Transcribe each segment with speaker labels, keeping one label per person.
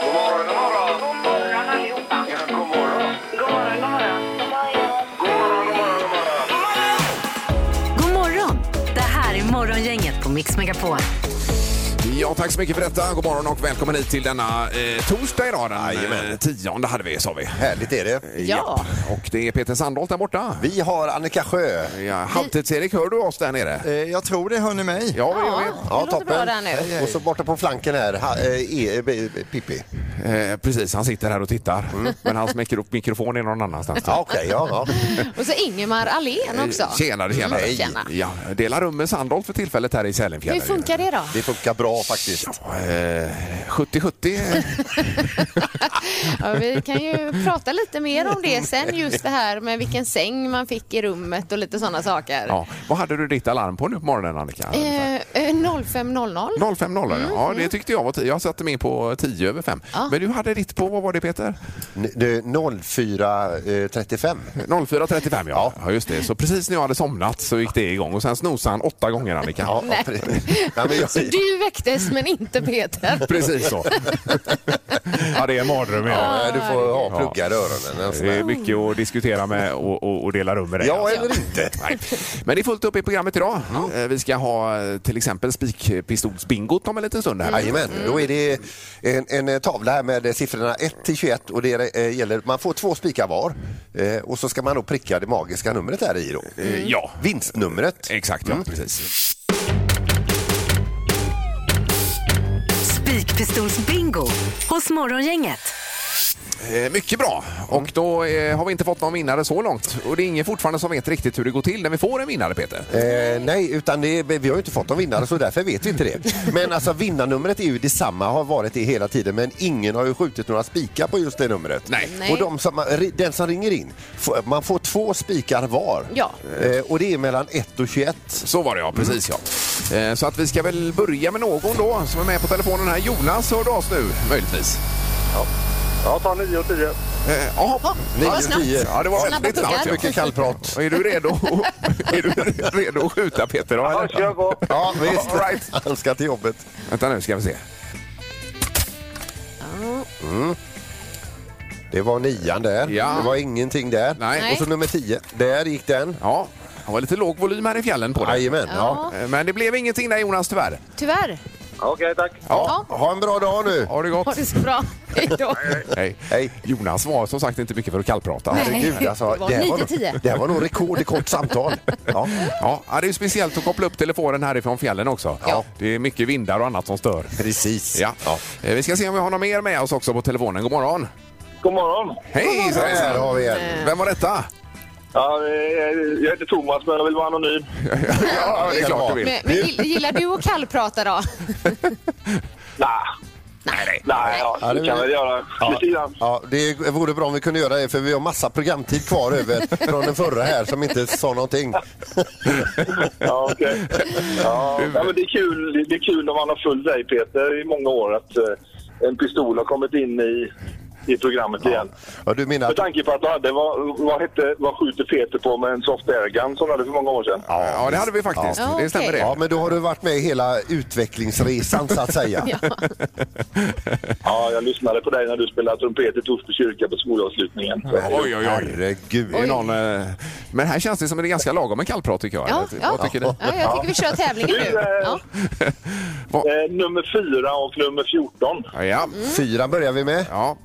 Speaker 1: God morgon, god morgon. God morgon allihopa. Ja, god morgon. God morgon, god morgon. God morgon, god morgon, god morgon.
Speaker 2: God morgon! Det här är Morgongänget på Mix Megapol.
Speaker 3: Ja, tack så mycket för detta. God morgon och välkommen hit till denna eh, torsdag idag. Den eh, tionde hade vi, sa vi.
Speaker 4: Härligt är det.
Speaker 3: Ja. Och det är Peter Sandholt där borta.
Speaker 4: Vi har Annika Sjö.
Speaker 3: Ja, Halvtids-Erik, hör du oss där nere?
Speaker 5: Eh, Jag tror det, hör ni mig?
Speaker 3: Ja, vi gör det.
Speaker 4: Ja,
Speaker 6: låter bra där nu.
Speaker 4: Hej, hej. Och så borta på flanken här, ha, eh, e, eh, b- b- Pippi.
Speaker 3: Eh, precis, han sitter här och tittar. Men hans mikro mikrofon är någon annanstans.
Speaker 4: Ja, okej, ja, ja.
Speaker 6: Och så Ingemar
Speaker 3: Eh,
Speaker 6: Ahlén också.
Speaker 3: Tjenare, tjenare.
Speaker 6: Mm, tjena.
Speaker 3: Ja, delar rum med Sandholt för tillfället här i
Speaker 6: Hur
Speaker 3: Sälenfjällen.
Speaker 6: funkar det då?
Speaker 4: Det funkar bra faktiskt.
Speaker 3: Eh, 70-70.
Speaker 6: Ja, vi kan ju prata lite mer om det sen, just det här med vilken säng man fick i rummet och lite sådana saker.
Speaker 3: ja. Vad hade du ditt alarm på nu på morgonen, Annika?
Speaker 6: Eh, eh, 05.00.
Speaker 3: 05.00, ja det tyckte jag var tio. Jag satte mig på 10 över 5.
Speaker 6: Mm. Ja.
Speaker 3: Men du hade ditt på, vad var det Peter?
Speaker 4: N- det är 04.35.
Speaker 3: 04.35 ja. ja. just det. Så precis när jag hade somnat så gick det igång och sen snosade han åtta gånger Annika.
Speaker 4: Ja, ja, pre- ja, men jag,
Speaker 6: Så du väcktes men inte Peter.
Speaker 3: Precis så. ja, det är en mardröm. Ja.
Speaker 4: ja, du får ha pluggar i öronen. Alltså.
Speaker 3: Det är mycket att diskutera med och, och, och dela rum med dig.
Speaker 4: Ja,
Speaker 3: alltså.
Speaker 4: eller inte.
Speaker 3: Nej. Men det är fullt upp i programmet idag. Eh, Vi ska ha eh, till exempel spikpistolsbingot om en liten stund. Här. Mm.
Speaker 4: Jajamän, då är det en, en eh, tavla här med eh, siffrorna 1 till 21 och det eh, gäller, man får två spikar var eh, och så ska man då pricka det magiska numret där i då.
Speaker 3: Eh, Ja,
Speaker 4: Vinstnumret. Mm.
Speaker 3: exakt. Ja, precis.
Speaker 2: Spikpistolsbingo hos Morgongänget.
Speaker 3: Eh, Mycket bra. Och då eh, har vi inte fått någon vinnare så långt. Och det är ingen fortfarande som vet riktigt hur det går till när vi får en vinnare, Peter.
Speaker 4: Eh, nej, utan det, vi har ju inte fått någon vinnare så därför vet vi inte det. Men alltså vinnarnumret är ju detsamma, har varit det hela tiden men ingen har ju skjutit några spikar på just det numret.
Speaker 3: Nej.
Speaker 6: Nej.
Speaker 4: Och de som, den som ringer in, får- man får två spikar var.
Speaker 6: Ja.
Speaker 4: Eh, och det är mellan 1 och 21.
Speaker 3: Så var det ja, precis ja. Eh, Så att vi ska väl börja med någon då som är med på telefonen här. Jonas, hör du oss nu möjligtvis?
Speaker 7: Jag tar 9 och 10.
Speaker 3: Eh, Jaha,
Speaker 4: Nio,
Speaker 6: vad snabbt.
Speaker 4: tio.
Speaker 3: ja det var
Speaker 6: Snabba
Speaker 3: väldigt snabbt.
Speaker 6: tuggar.
Speaker 3: Ja.
Speaker 4: Mycket kallprat.
Speaker 3: Och Är du redo? är du redo att skjuta Peter? då,
Speaker 7: Ja,
Speaker 3: eller?
Speaker 7: kör på.
Speaker 4: Ja, visst.
Speaker 3: All right.
Speaker 4: Han ska till jobbet.
Speaker 3: Vänta nu ska vi se.
Speaker 4: Mm. Det var nian där.
Speaker 3: Ja.
Speaker 4: Det var ingenting där.
Speaker 3: Nej.
Speaker 4: Och så nummer tio. Där gick den.
Speaker 3: Ja, det var lite låg volym här i fjällen på det.
Speaker 4: Jajamän. Ja.
Speaker 6: Ja.
Speaker 3: Eh, Men det blev ingenting där Jonas tyvärr.
Speaker 6: Tyvärr.
Speaker 7: Okej, tack.
Speaker 4: Ja. Ha en bra dag nu.
Speaker 3: Har det
Speaker 6: Ha
Speaker 3: gått?
Speaker 6: det så bra. Hej då.
Speaker 3: Hej.
Speaker 4: Hej.
Speaker 3: Jonas var som sagt inte mycket för att kallprata.
Speaker 4: Herregud, alltså,
Speaker 6: Det var
Speaker 4: här
Speaker 6: nio, tio.
Speaker 4: nog, det här var nog rekord i kort samtal. Ja.
Speaker 3: Ja, det är ju speciellt att koppla upp telefonen härifrån fjällen också.
Speaker 4: Ja.
Speaker 3: Det är mycket vindar och annat som stör.
Speaker 4: Precis.
Speaker 3: Ja. Eh, Vi ska se om vi har någon mer med oss också på telefonen. God morgon!
Speaker 7: God morgon.
Speaker 3: Hej!
Speaker 4: Så
Speaker 3: Svensson.
Speaker 4: här har vi
Speaker 6: Eh.
Speaker 4: en.
Speaker 3: Vem var detta?
Speaker 7: Ja, eh, jag heter Thomas, men jag vill vara anonym.
Speaker 3: Ja, det är klart du vill.
Speaker 6: Men, men gill- gillar du att kallprata då?
Speaker 7: Nej. Nej, nej.
Speaker 4: Ja,
Speaker 7: Ja,
Speaker 4: det
Speaker 7: det kan
Speaker 4: vill-
Speaker 7: väl göra lite grann.
Speaker 4: Ja, det vore bra om vi kunde göra det för vi har massa programtid kvar över från den förra här som inte sa någonting.
Speaker 7: Ja, okej. ja. ja, men det är kul. Det- Det är kul om man har följt dig, Peter, i många år att eh, en pistol har kommit in i, i programmet igen.
Speaker 4: Ja, du menar
Speaker 7: Med
Speaker 4: att
Speaker 7: tanke på att du hade, vad, vad, hette, vad skjuter Peter på med en soft airgun som du hade för många år sedan?
Speaker 3: Ja, det hade vi faktiskt.
Speaker 6: Ja,
Speaker 3: Det stämmer
Speaker 6: okej.
Speaker 3: det.
Speaker 4: Ja, men då har du varit med i hela utvecklingsresan så att säga.
Speaker 7: Ja, jag lyssnade på dig när du spelade trumpet i Torsby kyrka på skolavslutningen.
Speaker 3: Oj, oj, oj.
Speaker 4: Herregud.
Speaker 3: Det är någon, eh, men här känns det som att det är ganska lagom med kallprat tycker jag.
Speaker 6: Ja,
Speaker 3: Vad
Speaker 6: ja.
Speaker 3: tycker ni?
Speaker 6: Ja, jag tycker vi kör tävlingen nu. Ja.
Speaker 7: Eh, nummer 4 och nummer 14.
Speaker 3: Ja, ja.
Speaker 4: Mm. Fyra börjar vi med.
Speaker 3: ja.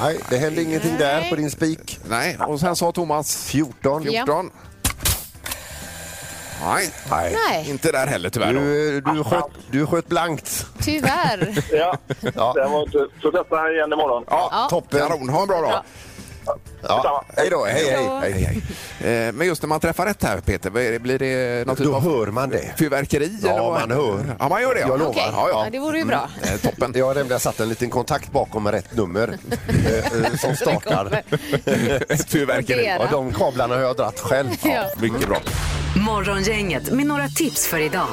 Speaker 4: Nej, det hände ingenting där
Speaker 6: Nej.
Speaker 4: på din spik.
Speaker 3: Nej, och sen sa Thomas
Speaker 4: 14.
Speaker 6: Ja.
Speaker 3: 14. Nej,
Speaker 6: Nej.
Speaker 3: inte där heller tyvärr. Då.
Speaker 4: Du, eh, du, sköt, du sköt blankt.
Speaker 6: Tyvärr.
Speaker 7: Ja,
Speaker 4: Ja.
Speaker 7: det var inte... eh, Så detta här igen imorgon.
Speaker 3: Ja,
Speaker 6: Ja.
Speaker 3: toppen. Kanon, ha en bra dag.
Speaker 6: Bra.
Speaker 4: Ja. Hej då, hej hej.
Speaker 6: Hej
Speaker 3: Hej, hej, hej. Eh, Men just när man träffar rätt här Peter, vad är det- blir det någon typ
Speaker 4: Då
Speaker 3: av
Speaker 4: hör man det.
Speaker 3: fyrverkeri?
Speaker 4: Ja,
Speaker 3: eller vad?
Speaker 4: man hör.
Speaker 3: Ja, man gör det. ja.
Speaker 4: Jag lovar.
Speaker 6: Okej,
Speaker 3: Ja, ja.
Speaker 6: ja, det vore ju bra.
Speaker 3: Eh, Toppen.
Speaker 4: Jag har nämligen satt en liten kontakt bakom rätt nummer eh, eh, som startar.
Speaker 3: Ett fyrverkeri.
Speaker 4: Ja, de kablarna har jag dratt själv.
Speaker 6: Ja.
Speaker 3: Mycket bra.
Speaker 2: Morgongänget med några tips för idag.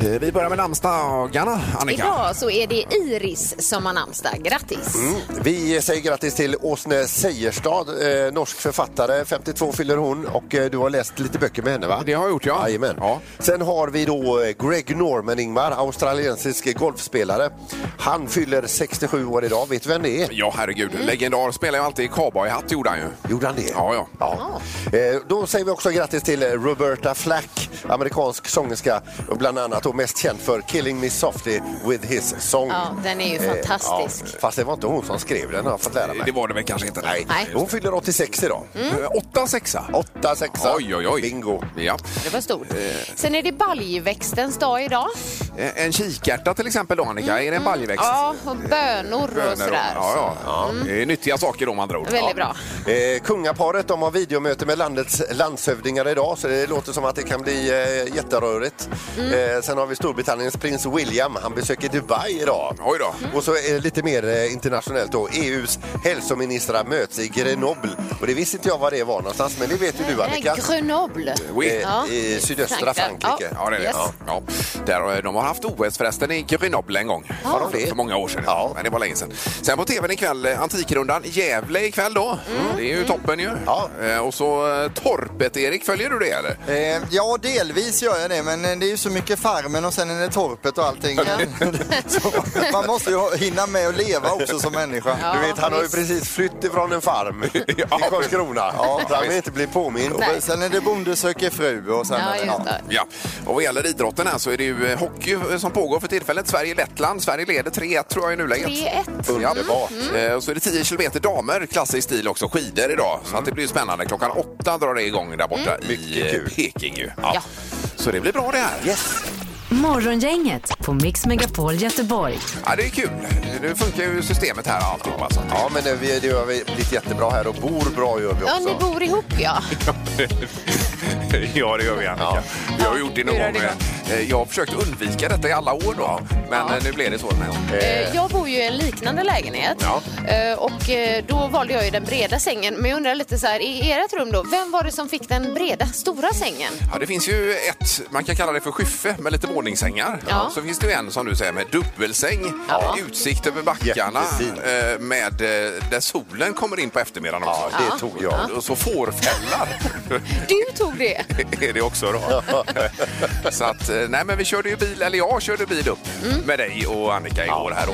Speaker 3: Eh, Vi börjar med namnsdagarna, Annika.
Speaker 6: Idag så är det Iris som har namnsdag. Grattis!
Speaker 4: Mm. Vi säger grattis till Åsne Seierstad, eh, norsk författare. 52 fyller hon och eh, du har läst lite böcker med henne va?
Speaker 3: Det har jag gjort, ja.
Speaker 4: Jajamän.
Speaker 3: Ja.
Speaker 4: Sen har vi då eh, Greg Norman Ingmar, australiensisk golfspelare. Han fyller 67 år idag, vet du vem det är? Mm.
Speaker 3: Ja, herregud. Legendar spelar ju alltid i cowboyhatt, gjorde han ju.
Speaker 4: Gjorde han det?
Speaker 3: Ja, ja.
Speaker 4: Ja. Eh, Då säger vi också grattis till eh, Roberta Flack, amerikansk sångerska, och bland annat och mest känd för Killing Me Softly with his song.
Speaker 6: Ja, den är ju
Speaker 4: Eh,
Speaker 6: fantastisk.
Speaker 4: ja. Fast det var inte hon som skrev den har jag fått lära mig.
Speaker 3: Det var det väl kanske inte.
Speaker 4: Nej.
Speaker 6: Nej. Mm.
Speaker 4: Hon fyller 86 idag.
Speaker 3: Eh, Åtta, sexa.
Speaker 4: 8, 6.
Speaker 3: Oj, oj, oj.
Speaker 4: Bingo.
Speaker 3: Ja.
Speaker 6: Det var stort. Sen är det baljväxtens dag idag.
Speaker 3: Eh, En kikärta till exempel då, Annika. Är det en baljväxt?
Speaker 6: Ja, och bönor
Speaker 3: Bönor
Speaker 6: och
Speaker 3: och-
Speaker 6: sådär.
Speaker 3: Ja, ja.
Speaker 4: Mm.
Speaker 3: Det är nyttiga saker om andra ord.
Speaker 6: Väldigt
Speaker 3: Ja.
Speaker 6: bra.
Speaker 4: Eh, kungaparet de har videomöte med landets landshövdingar idag så det låter som att det kan bli eh, jätterörigt.
Speaker 6: Mm.
Speaker 4: Eh, sen har vi Storbritanniens prins William. Han besöker Dubai idag.
Speaker 3: Oj då.
Speaker 4: Och så eh, lite mer eh, internationellt då. EUs hälsoministrar möts i Grenoble. Och det visste inte jag vad det var någonstans men det vet ju du
Speaker 6: Nej,
Speaker 4: Annika.
Speaker 6: Grenoble.
Speaker 3: Oui.
Speaker 4: Eh,
Speaker 6: Ja.
Speaker 4: I sydöstra
Speaker 6: Frankrike.
Speaker 4: Frankrike.
Speaker 3: Ja, det är det.
Speaker 6: Yes.
Speaker 3: Ja. Ja. Där, har- de har haft OS förresten i Grenoble en gång.
Speaker 4: Har de det?
Speaker 3: För många år sedan.
Speaker 4: Ja.
Speaker 3: Men det var länge sedan. Sen på tvn ikväll, eh, Antikrundan, Gävle ikväll då. Det är ju toppen ju.
Speaker 4: Ja.
Speaker 3: Eh, Och så eh, Torpet, Erik, följer du det eller?
Speaker 5: Eh, ja, delvis gör jag det, men eh, det är ju så mycket Farmen och sen är det torpet och allting. så man måste ju ha- hinna med att leva också som människa.
Speaker 6: Ja,
Speaker 4: Du vet, han har ju
Speaker 6: visst.
Speaker 4: precis flytt ifrån en farm i Karlskrona. Ja, så han vill inte bli påmind.
Speaker 6: Nej.
Speaker 5: Sen är det Bonde söker fru och sen...
Speaker 6: Ja, just det.
Speaker 3: Ja, och vad gäller idrotten här så är det ju eh, hockey eh, som pågår för tillfället. Sverige-Lettland. Sverige leder 3-1 tror jag i nuläget.
Speaker 6: 3-1.
Speaker 3: Ja.
Speaker 6: Mm.
Speaker 3: Eh, Och så är det 10 kilometer damer, klassisk stil också, skidor idag.
Speaker 5: Mm.
Speaker 3: Så att det blir ju spännande. Klockan åtta drar det igång där borta i
Speaker 4: Mycket
Speaker 3: eh,
Speaker 4: kul.
Speaker 3: Peking ju. Ja.
Speaker 6: Mm. Ja.
Speaker 3: Så det blir bra det här.
Speaker 2: Morgongänget på Mix Megapol Göteborg.
Speaker 3: Ja, det är kul. Nu funkar ju systemet här och alltihopa. Så. att-
Speaker 4: Ja, men det, vi- det har vi blivit jättebra här och bor bra gör vi
Speaker 6: Ja, ni
Speaker 4: också.
Speaker 6: bor ihop ja.
Speaker 3: Ja, det gör vi Annika. Vi har gjort det någon
Speaker 6: Hur har
Speaker 3: gång.
Speaker 6: det
Speaker 3: Eh, Jag har försökt undvika detta i alla år då. Men eh, nu blev det så den här gången.
Speaker 6: Eh, Jag bor ju i en liknande lägenhet
Speaker 3: Ja.
Speaker 6: Eh, och eh, då valde jag ju den breda sängen. Men jag undrar lite så här, i ert rum då, vem var det som fick den breda, stora sängen?
Speaker 3: Ja, det finns ju ett, man kan kalla det för skyffe med lite våningssängar.
Speaker 6: Ja.
Speaker 3: Så finns det ju en som du säger med dubbelsäng,
Speaker 6: Ja.
Speaker 3: utsikt över backarna
Speaker 4: Jättefin.
Speaker 3: eh, med eh, där solen kommer in på eftermiddagen också.
Speaker 4: Ja, det tog jag.
Speaker 3: Och så fårfällar
Speaker 6: Du tog det!
Speaker 3: är det också då. så att, eh, nej men vi körde ju bil, eller jag körde bil upp
Speaker 6: Mm.
Speaker 3: med dig och Annika igår här då.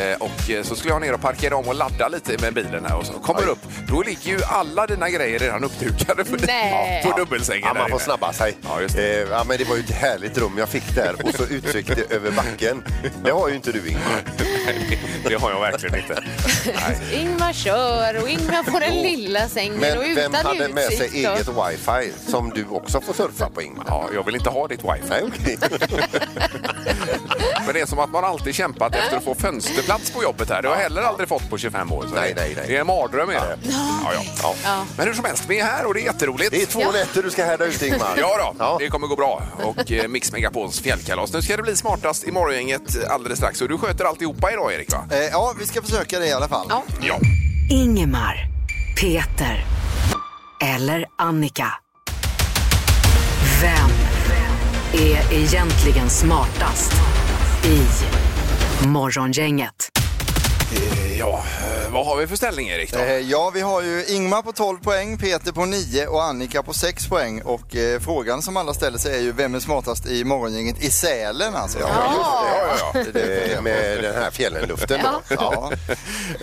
Speaker 3: Eh, Och eh, så skulle jag ner och parkera om och ladda lite med bilen här och så kommer upp. Då ligger ju alla dina grejer redan uppdukade på,
Speaker 6: Nej.
Speaker 3: på dubbelsängen
Speaker 4: Ja,
Speaker 3: där
Speaker 4: man får
Speaker 3: inne.
Speaker 4: snabba sig.
Speaker 3: Ja, just det.
Speaker 4: Eh, ja, men det var ju ett härligt rum jag fick där och så utsikt över backen. Det har ju inte du Ingmar.
Speaker 3: Nej, det har jag verkligen inte. Nej.
Speaker 6: Ingmar kör och Ingmar får den
Speaker 4: Jo.
Speaker 6: lilla sängen
Speaker 4: Oh. Men
Speaker 6: och
Speaker 4: vem
Speaker 6: utan
Speaker 4: hade
Speaker 6: utsikt.
Speaker 4: med sig
Speaker 6: och-
Speaker 4: eget wifi som du också får surfa på Ingmar?
Speaker 3: Ja, jag vill inte ha ditt wifi.
Speaker 4: Nej, okej.
Speaker 3: Men det är som att man alltid kämpat efter att få fönsterplats på jobbet här. Det har jag heller aldrig fått på 25 år. Så
Speaker 4: Nej,
Speaker 3: det-
Speaker 4: nej, nej.
Speaker 3: Det är en mardröm är det. Ja, ja. Ja.
Speaker 6: Ja.
Speaker 3: Men hur som helst, vi är här och det är jätteroligt.
Speaker 4: Det är två
Speaker 6: Ja.
Speaker 4: nätter du ska härda ut Ingmar.
Speaker 3: Ja då,
Speaker 4: Ja.
Speaker 3: det kommer gå bra. Och eh, Mix Megapols fjällkalas. Nu ska det bli smartast i morgongänget alldeles strax. Och du sköter alltihopa idag Erik va?
Speaker 5: Eh, ja, vi ska försöka det i alla fall.
Speaker 6: Ja.
Speaker 3: Ja.
Speaker 2: Ingemar, Peter eller Annika. Vem är egentligen smartast i Morgongänget?
Speaker 3: Eh, Ja, eh, vad har vi för ställning Erik då?
Speaker 5: Eh, Ja, vi har ju Ingmar på 12 poäng, Peter på 9 och Annika på 6 poäng. Och eh, frågan som alla ställer sig är ju vem är smartast i morgongänget i Sälen alltså?
Speaker 3: Ja, ja, ja.
Speaker 4: Eh, Med den här fjällenluften då.
Speaker 5: Ja.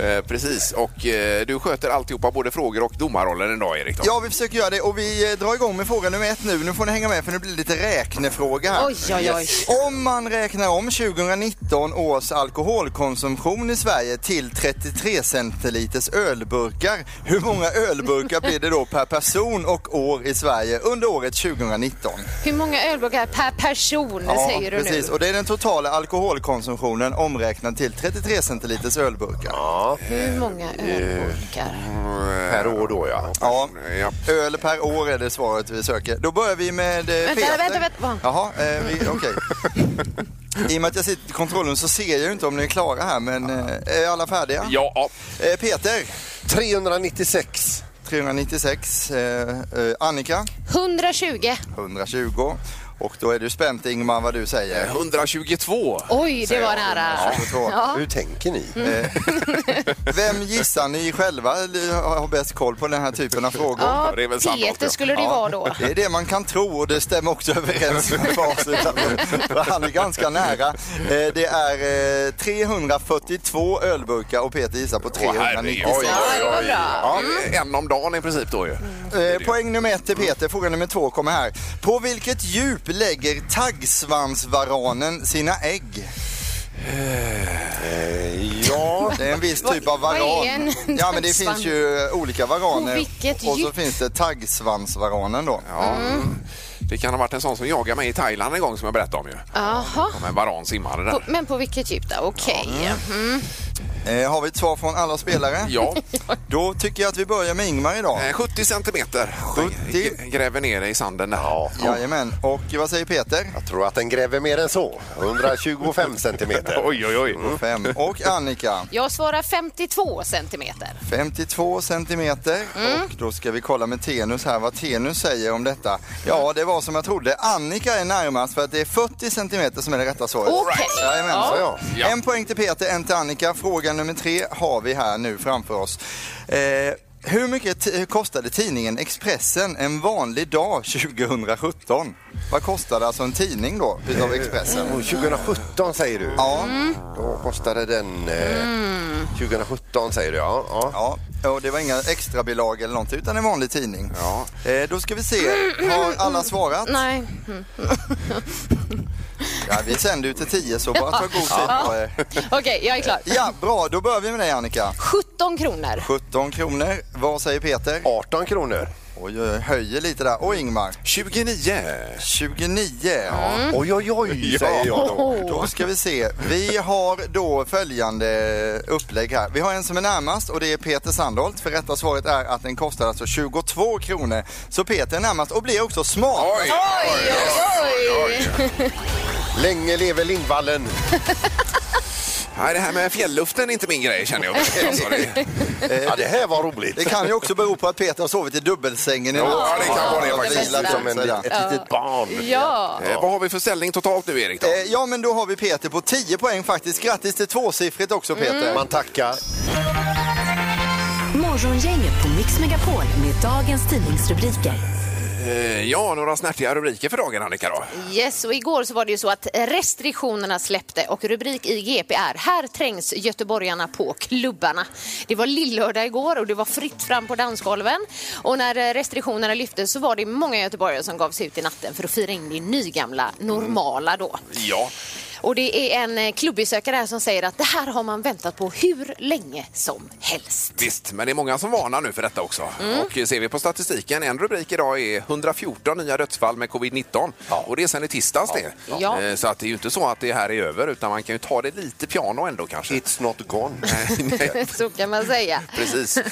Speaker 3: Eh, precis, och eh, du sköter alltihopa, både frågor och domarrollen idag Erik. Då.
Speaker 5: Ja, vi försöker göra det och vi eh, drar igång med fråga nummer ett nu. Nu får ni hänga med för nu blir det lite räknefråga här.
Speaker 6: Oj, oj, oj.
Speaker 5: Om man räknar om 2019 års alkoholkonsumtion i Sverige till 33 centiliters ölburkar, hur många ölburkar blir det då per person och år i Sverige under året 2019?
Speaker 6: Hur många ölburkar per person säger du
Speaker 5: precis.
Speaker 6: nu?
Speaker 5: Och det är den totala alkoholkonsumtionen omräknad till 33 centiliters ölburkar.
Speaker 6: Hur många ölburkar?
Speaker 4: Per år då ja.
Speaker 5: Ja.
Speaker 3: Ja.
Speaker 5: Öl per år är det svaret vi söker. Då börjar vi med eh, Peter.
Speaker 6: vänta, vänta, va?
Speaker 5: Jaha, eh, vi- okej. I och med att jag sitter i kontrollen så ser jag ju inte om ni är klara här, men eh, är alla färdiga?
Speaker 3: Ja, ja.
Speaker 5: Eh, Peter,
Speaker 4: 396.
Speaker 5: 396. Eh, eh, Annika,
Speaker 6: 120.
Speaker 5: 120. Och då är du spänt Ingmar vad du säger.
Speaker 3: Eh, 122.
Speaker 6: Oj, det
Speaker 3: säger
Speaker 6: var
Speaker 3: jag.
Speaker 6: nära.
Speaker 5: Ja.
Speaker 4: Hur tänker ni?
Speaker 5: Eh, Vem gissar ni själva har bäst koll på den här typen av frågor?
Speaker 6: Ja,
Speaker 3: det är väl samma
Speaker 6: Peter
Speaker 3: också.
Speaker 6: skulle det
Speaker 5: Ja,
Speaker 6: vara då.
Speaker 5: Det är det man kan tro och det stämmer också överens med facit. För han är ganska nära. Eh, Det är eh, 342 ölburkar och Peter gissar på
Speaker 3: Åh, herregud.
Speaker 5: 396.
Speaker 3: Oj,
Speaker 6: Ja, det var bra.
Speaker 3: Ja, det
Speaker 5: Mm.
Speaker 3: är en om dagen i princip då ju.
Speaker 5: Eh, Poäng nummer ett till Peter, fråga nummer två kommer här. På vilket djup lägger taggsvansvaranen sina ägg?
Speaker 4: Eh. Ja,
Speaker 5: Det är en viss typ
Speaker 6: Vad-
Speaker 5: av varan.
Speaker 6: vad är en
Speaker 5: ja, men det
Speaker 6: taggsvans?
Speaker 5: finns ju eh, olika varaner.
Speaker 6: På vilket
Speaker 5: och så
Speaker 6: djup?
Speaker 5: finns det taggsvansvaranen då.
Speaker 3: Ja. Mm. Det kan ha varit en sån som jagade mig i Thailand en gång som jag berättade om ju.
Speaker 6: Jaha.
Speaker 3: Om en varan simmade
Speaker 6: På-
Speaker 3: där.
Speaker 6: Men på vilket djup då? Okej. Mhm.
Speaker 5: Eh, har vi ett svar från alla spelare?
Speaker 3: Ja,
Speaker 5: Då tycker jag att vi börjar med Ingmar idag.
Speaker 3: eh, 70 centimeter.
Speaker 5: 70.
Speaker 3: G- Gräver ner dig i sanden där. Ja.
Speaker 5: Jajamän. Och vad säger Peter?
Speaker 4: jag tror att den gräver mer än så. 125 centimeter. Mm.
Speaker 3: Oj, oj, oj.
Speaker 5: Fem. Och Annika?
Speaker 6: Jag svarar 52 centimeter.
Speaker 5: 52 centimeter.
Speaker 6: Mm.
Speaker 5: Och då ska vi kolla med Tenus här vad Tenus säger om detta. Ja, det var som jag trodde. Annika är närmast för att det är 40 centimeter som är det rätta svaret.
Speaker 6: Okej.
Speaker 5: Jajamän,
Speaker 6: Ja.
Speaker 5: så ja.
Speaker 3: Ja.
Speaker 5: En poäng till Peter, en till Annika. Fråga nummer tre har vi här nu framför oss. Eh, hur mycket t- kostade tidningen Expressen en vanlig dag 2017? Vad kostade alltså en tidning då utav Expressen?
Speaker 4: Och 2017 Eh, säger du?
Speaker 5: Ja.
Speaker 4: Då kostade den... Eh,
Speaker 6: Mm.
Speaker 4: 2017 säger du, ja. ja.
Speaker 5: Ja, och det var inga extra bilag eller något utan en vanlig tidning. Ja. Eh, då ska vi se, har alla svarat?
Speaker 6: Nej. Mm.
Speaker 5: Ja, vi sänder ju till 10 så bara ta god tid på er.
Speaker 6: Okej, jag är klar.
Speaker 5: Ja, bra, då börjar vi med dig Annika.
Speaker 6: 17 kronor.
Speaker 5: 17 kronor, vad säger Peter?
Speaker 4: 18 kronor.
Speaker 5: Oj, oj, oj, höjer lite där. Och Ingmar?
Speaker 3: 29.
Speaker 5: 29.
Speaker 4: Mm. Oj, oj, oj, säger jag då.
Speaker 5: Då ska vi se. Vi har då följande upplägg här. Vi har en som är närmast och det är Peter Sandholt. För rätta svaret är att den kostar alltså 22 kronor. Så Peter är närmast och blir också smart.
Speaker 3: Oj, oj, oj.
Speaker 4: Länge lever Lindvallen.
Speaker 3: Nej, det här med fjällluften är inte min grej känner jag. Alltså,
Speaker 6: Eh,
Speaker 3: det...
Speaker 4: Ja, det här var roligt.
Speaker 5: Det kan ju också bero på att Peter har sovit i dubbelsängen i
Speaker 3: Ja, det kan vara det faktiskt.
Speaker 5: Vilat upp
Speaker 4: Som en,
Speaker 5: sig där.
Speaker 4: ett litet barn.
Speaker 6: Ja.
Speaker 3: Eh, Vad har vi för ställning totalt nu Erik? Då?
Speaker 5: Eh, Ja, men då har vi Peter på 10 poäng faktiskt. Grattis till tvåsiffrigt också
Speaker 3: Mm.
Speaker 5: Peter.
Speaker 4: Man tackar.
Speaker 2: Morgongänget på Mix Megapol med dagens tidningsrubriker.
Speaker 3: Eh, Ja, några snärtiga rubriker för dagen Annika då.
Speaker 6: Yes, och igår så var det ju så att restriktionerna släppte och rubrik i GP är Här trängs göteborgarna på klubbarna. Det var lillördag igår och det var fritt fram på dansgolven. Och när eh, restriktionerna lyftes så var det många göteborgare som gav sig ut i natten för att fira in det nygamla normala då.
Speaker 3: Ja.
Speaker 6: Och det är en eh, klubbesökare här som säger att det här har man väntat på hur länge som helst.
Speaker 3: Visst, men det är många som varnar nu för detta också. Och eh, ser vi på statistiken, en rubrik idag är 114 nya dödsfall med covid-19. Och det är sen i tisdags det.
Speaker 6: Ja.
Speaker 3: Eh, Så att det är ju inte så att det här är över, utan man kan ju ta det lite piano ändå kanske.
Speaker 4: It's not gone.
Speaker 3: Nej,
Speaker 6: Så kan man säga.
Speaker 3: Precis. Eh,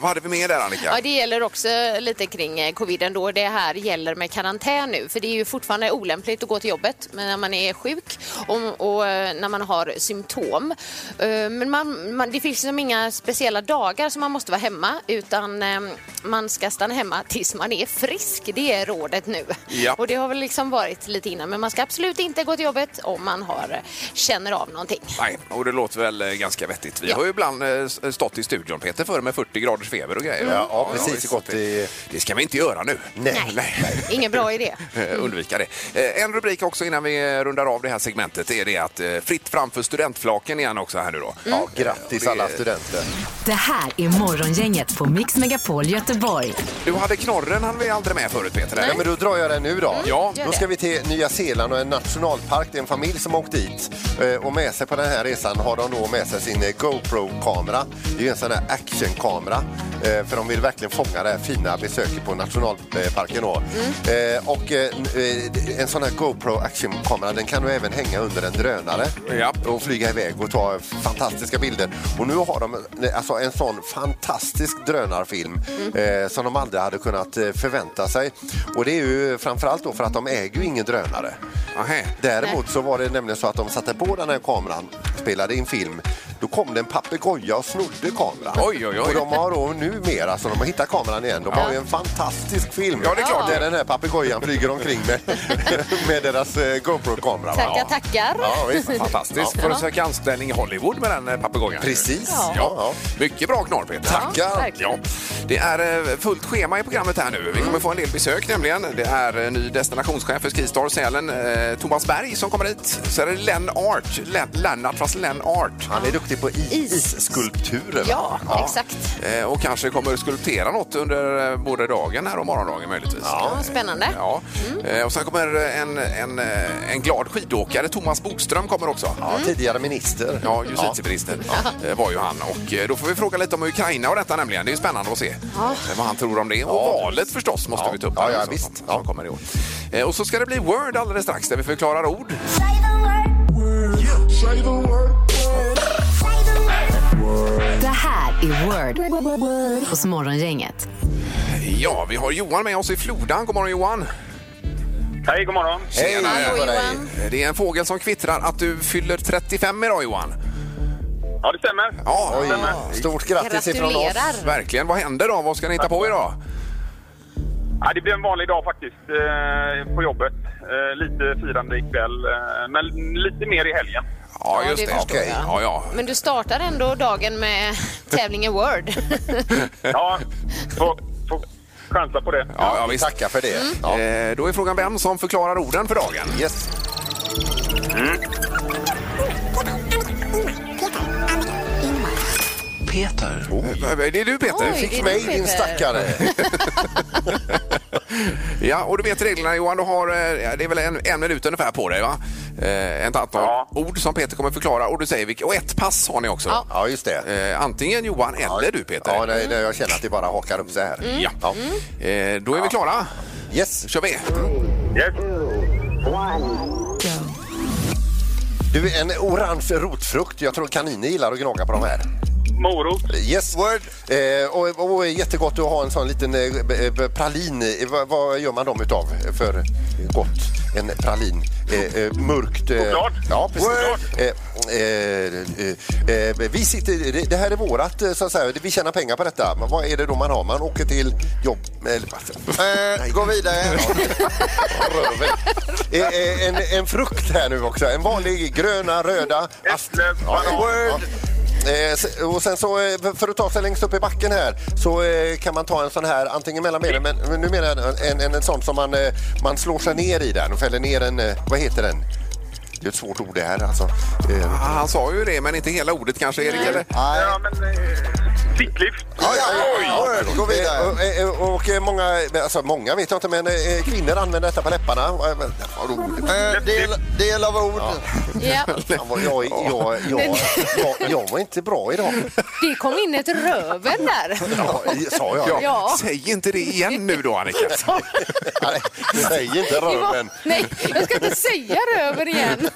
Speaker 3: Vad hade vi mer där Annika?
Speaker 6: Ja, det gäller också lite kring eh, coviden då. Det här gäller med karantän nu, för det är ju fortfarande olämpligt att gå till jobbet men när man är sjuk och, och eh, när man har symptom. Eh, Men man, man, det finns liksom inga speciella dagar som man måste vara hemma utan eh, man ska stanna hemma tills man är frisk. Det är rådet nu.
Speaker 3: Ja.
Speaker 6: Och det har väl liksom varit lite innan, men man ska absolut inte gå till jobbet om man har, eh, känner av någonting.
Speaker 3: Nej, och det låter väl eh, ganska vettigt. Vi
Speaker 6: Ja.
Speaker 3: har ju ibland eh, s- stått i studion, Peter, förr med 40 graders feber och grejer.
Speaker 4: Ja, ja, precis.
Speaker 3: visst.
Speaker 4: Gått i-
Speaker 3: Det ska vi inte göra nu.
Speaker 4: Nej.
Speaker 6: Ingen bra idé.
Speaker 3: Eh, undvika det. Eh, En rubrik också innan vi rundar av det här segmentet är det att eh, fritt framför studentflaken igen också här nu då.
Speaker 4: Ja, grattis alla studenter.
Speaker 2: Det här är Morgongänget på Mix Megapol Göteborg.
Speaker 3: Du hade knorren hann vi aldrig med förut Peter.
Speaker 4: Ja,
Speaker 3: eller?
Speaker 4: men då drar jag den nu då.
Speaker 3: Ja.
Speaker 4: Då ska vi till Nya Zeeland och en nationalpark. Det är en familj som har åkt dit. Eh, Och med sig på den här resan har de då med sig sin eh, GoPro-kamera. Det är ju en sån här actionkamera. eh, För de vill verkligen fånga det här fina besöket på nationalparken. Då. Eh, Och eh, n- eh, en sån här GoPro actionkamera den kan du även hänga under en drönare
Speaker 3: Ja.
Speaker 4: och flyga iväg och ta fantastiska bilder. Och nu har de eh, alltså en sån fantastisk drönarfilm
Speaker 3: Mm.
Speaker 4: eh, som de aldrig hade kunnat eh, förvänta sig. Och det är ju framförallt då för att de äger ju ingen drönare.
Speaker 3: Ahä.
Speaker 4: Däremot så var det nämligen så att de satte på den här kameran, spelade in film Då kom det en papegoja och snodde kameran.
Speaker 3: Oj, oj, oj.
Speaker 4: Och de har då numera, så de har hittat kameran igen, de har ju en fantastisk film.
Speaker 3: Ja, det är klart.
Speaker 4: Där den här papegojan flyger omkring med, med deras eh, GoPro-kamera. va?
Speaker 6: Tackar, tackar.
Speaker 4: Ja, visst.
Speaker 3: Fantastiskt. Får du söka anställning i Hollywood med den eh, papegojan?
Speaker 4: Precis.
Speaker 3: Ja.
Speaker 4: Ja.
Speaker 3: Mycket bra knorr, Peter.
Speaker 4: Tackar.
Speaker 3: Ja.
Speaker 6: verkligen.
Speaker 3: Det är eh, fullt schema i programmet här nu. Vi kommer
Speaker 4: Mm.
Speaker 3: få en del besök nämligen. Det är eh, ny destinationschef för Skistar Sälen, eh, Thomas Berg, som kommer hit. Så är det Len Art, Len, Lennart, fast Len Art.
Speaker 4: Han är duktig på i-
Speaker 6: Is.
Speaker 4: isskulpturer. va?
Speaker 6: Ja, exakt.
Speaker 3: Eh, Och kanske kommer skulptera något under eh, både dagen här och morgondagen möjligtvis.
Speaker 6: Ja, spännande.
Speaker 3: Ja.
Speaker 4: Mm.
Speaker 3: Eh, Och sen kommer eh, en, en, eh, en glad skidåkare, Thomas Bokström, kommer också. Mm.
Speaker 4: Ja, tidigare minister.
Speaker 3: Ja, justitieminister eh, var ju han. Och eh, då får vi fråga lite om Ukraina och detta nämligen. Det är ju spännande att se eh, vad han tror om det. Och valet förstås måste
Speaker 4: Ja.
Speaker 3: vi ta upp.
Speaker 4: Ja,
Speaker 3: här
Speaker 4: ja,
Speaker 3: också,
Speaker 4: visst.
Speaker 3: Som, som kommer i år. Eh, Och så ska det bli Word alldeles strax där vi förklarar ord.
Speaker 2: Det här är Word hos Morgongänget.
Speaker 3: Ja, vi har Johan med oss i Flodan. God morgon Johan!
Speaker 7: Hej, god morgon.
Speaker 4: Hej
Speaker 6: Hallå,
Speaker 4: på dig.
Speaker 6: Johan.
Speaker 3: Eh, Det är en fågel som kvittrar att du fyller 35 idag Johan.
Speaker 7: Ja, det stämmer.
Speaker 3: Ja,
Speaker 4: Oj, stort grattis ifrån oss.
Speaker 6: Gratulerar.
Speaker 3: verkligen. Vad händer då? Vad ska ni hitta på idag?
Speaker 7: Ja, det blir en vanlig dag faktiskt eh, på jobbet. Eh, lite firande ikväll, eh, men lite mer i helgen.
Speaker 3: Ja,
Speaker 6: Ja,
Speaker 3: just det.
Speaker 6: förstår
Speaker 4: Okej.
Speaker 6: jag.
Speaker 3: Ja, ja.
Speaker 6: Men du startar ändå dagen med tävlingen Word.
Speaker 7: Ja, får, får chansa på det.
Speaker 3: Ja, ja,
Speaker 4: Vi
Speaker 3: visst.
Speaker 4: tackar för det. Ja.
Speaker 3: Eh, Då är frågan vem som förklarar orden för dagen.
Speaker 4: Yes.
Speaker 6: Mm.
Speaker 3: Eh, Det är du Peter.
Speaker 6: Oj.
Speaker 4: Fick
Speaker 6: det
Speaker 4: mig
Speaker 6: Peter?
Speaker 4: din stackare.
Speaker 3: Ja, och du vet reglerna Johan, du har, eh, det är väl en, en minut ungefär på dig va? Eh, ett antal
Speaker 7: Ja.
Speaker 3: ord som Peter kommer förklara och du säger vilka, och ett pass har ni också.
Speaker 6: Ja.
Speaker 4: Ja, just det.
Speaker 3: Eh, antingen Johan eller du Peter. Mm.
Speaker 4: Ja, nej, nej, jag känner att det bara hakar upp så här.
Speaker 3: Ja. Eh, då är vi klara,
Speaker 4: Yes.
Speaker 3: kör vi.
Speaker 7: Yes.
Speaker 4: Du, en orange rotfrukt. Jag tror kaniner gillar att gnaga på de här.
Speaker 7: Morot.
Speaker 4: Yes. Word. Eh, och, och är jättegott att ha en sån liten eh, b- b- pralin. Eh, Vad, vad gör man dem utav för gott? En pralin. Eh, eh, mörkt. Eh,
Speaker 7: Choklad.
Speaker 4: ja, precis.
Speaker 7: Word.
Speaker 4: Eh, eh, eh, eh, vi sitter, det- det här är vårat, eh, så att säga. vi tjänar pengar på detta. Men vad är det då man har? Man åker till jobb... Eller,
Speaker 5: Eh, gå
Speaker 4: Mm.
Speaker 5: vidare.
Speaker 4: röven. Eh, eh, en, en frukt här nu också. En vanlig gröna, röda. ast-
Speaker 7: Äpple,
Speaker 4: Ja,
Speaker 7: banan.
Speaker 4: word. Eh, s- Och sen så, eh, för- för att ta sig längst upp i backen här, så eh, kan man ta en sån här, antingen mellan benen, men men nu menar jag en, en, en sån som man, eh, man slår sig ner i den och fäller ner en, eh, vad heter den? Det är ett svårt ord det här alltså. Eh,
Speaker 3: Ah, Han sa ju det, men inte hela ordet kanske Erik, eller?
Speaker 5: Nej.
Speaker 7: Ja, men... eh, Sittlift.
Speaker 5: Ja, Word, gå
Speaker 4: Eh,
Speaker 5: vidare.
Speaker 4: och, eh, Och, eh, många, alltså många vet jag inte, men eh, kvinnor använder detta på läpparna. Eh, men, Vad roligt.
Speaker 5: Eh, del, del av ord.
Speaker 6: Ja.
Speaker 4: Fan, vad Jag, jag, jag, jag, jag var inte bra idag.
Speaker 6: Det kom in ett röven där.
Speaker 4: Ja, sa jag?
Speaker 3: Ja.
Speaker 4: Ja.
Speaker 6: Ja.
Speaker 3: Säg inte det igen nu då Annika.
Speaker 4: Nej, säg inte
Speaker 6: Det var-
Speaker 4: röven.
Speaker 6: Nej, jag ska inte säga röven igen.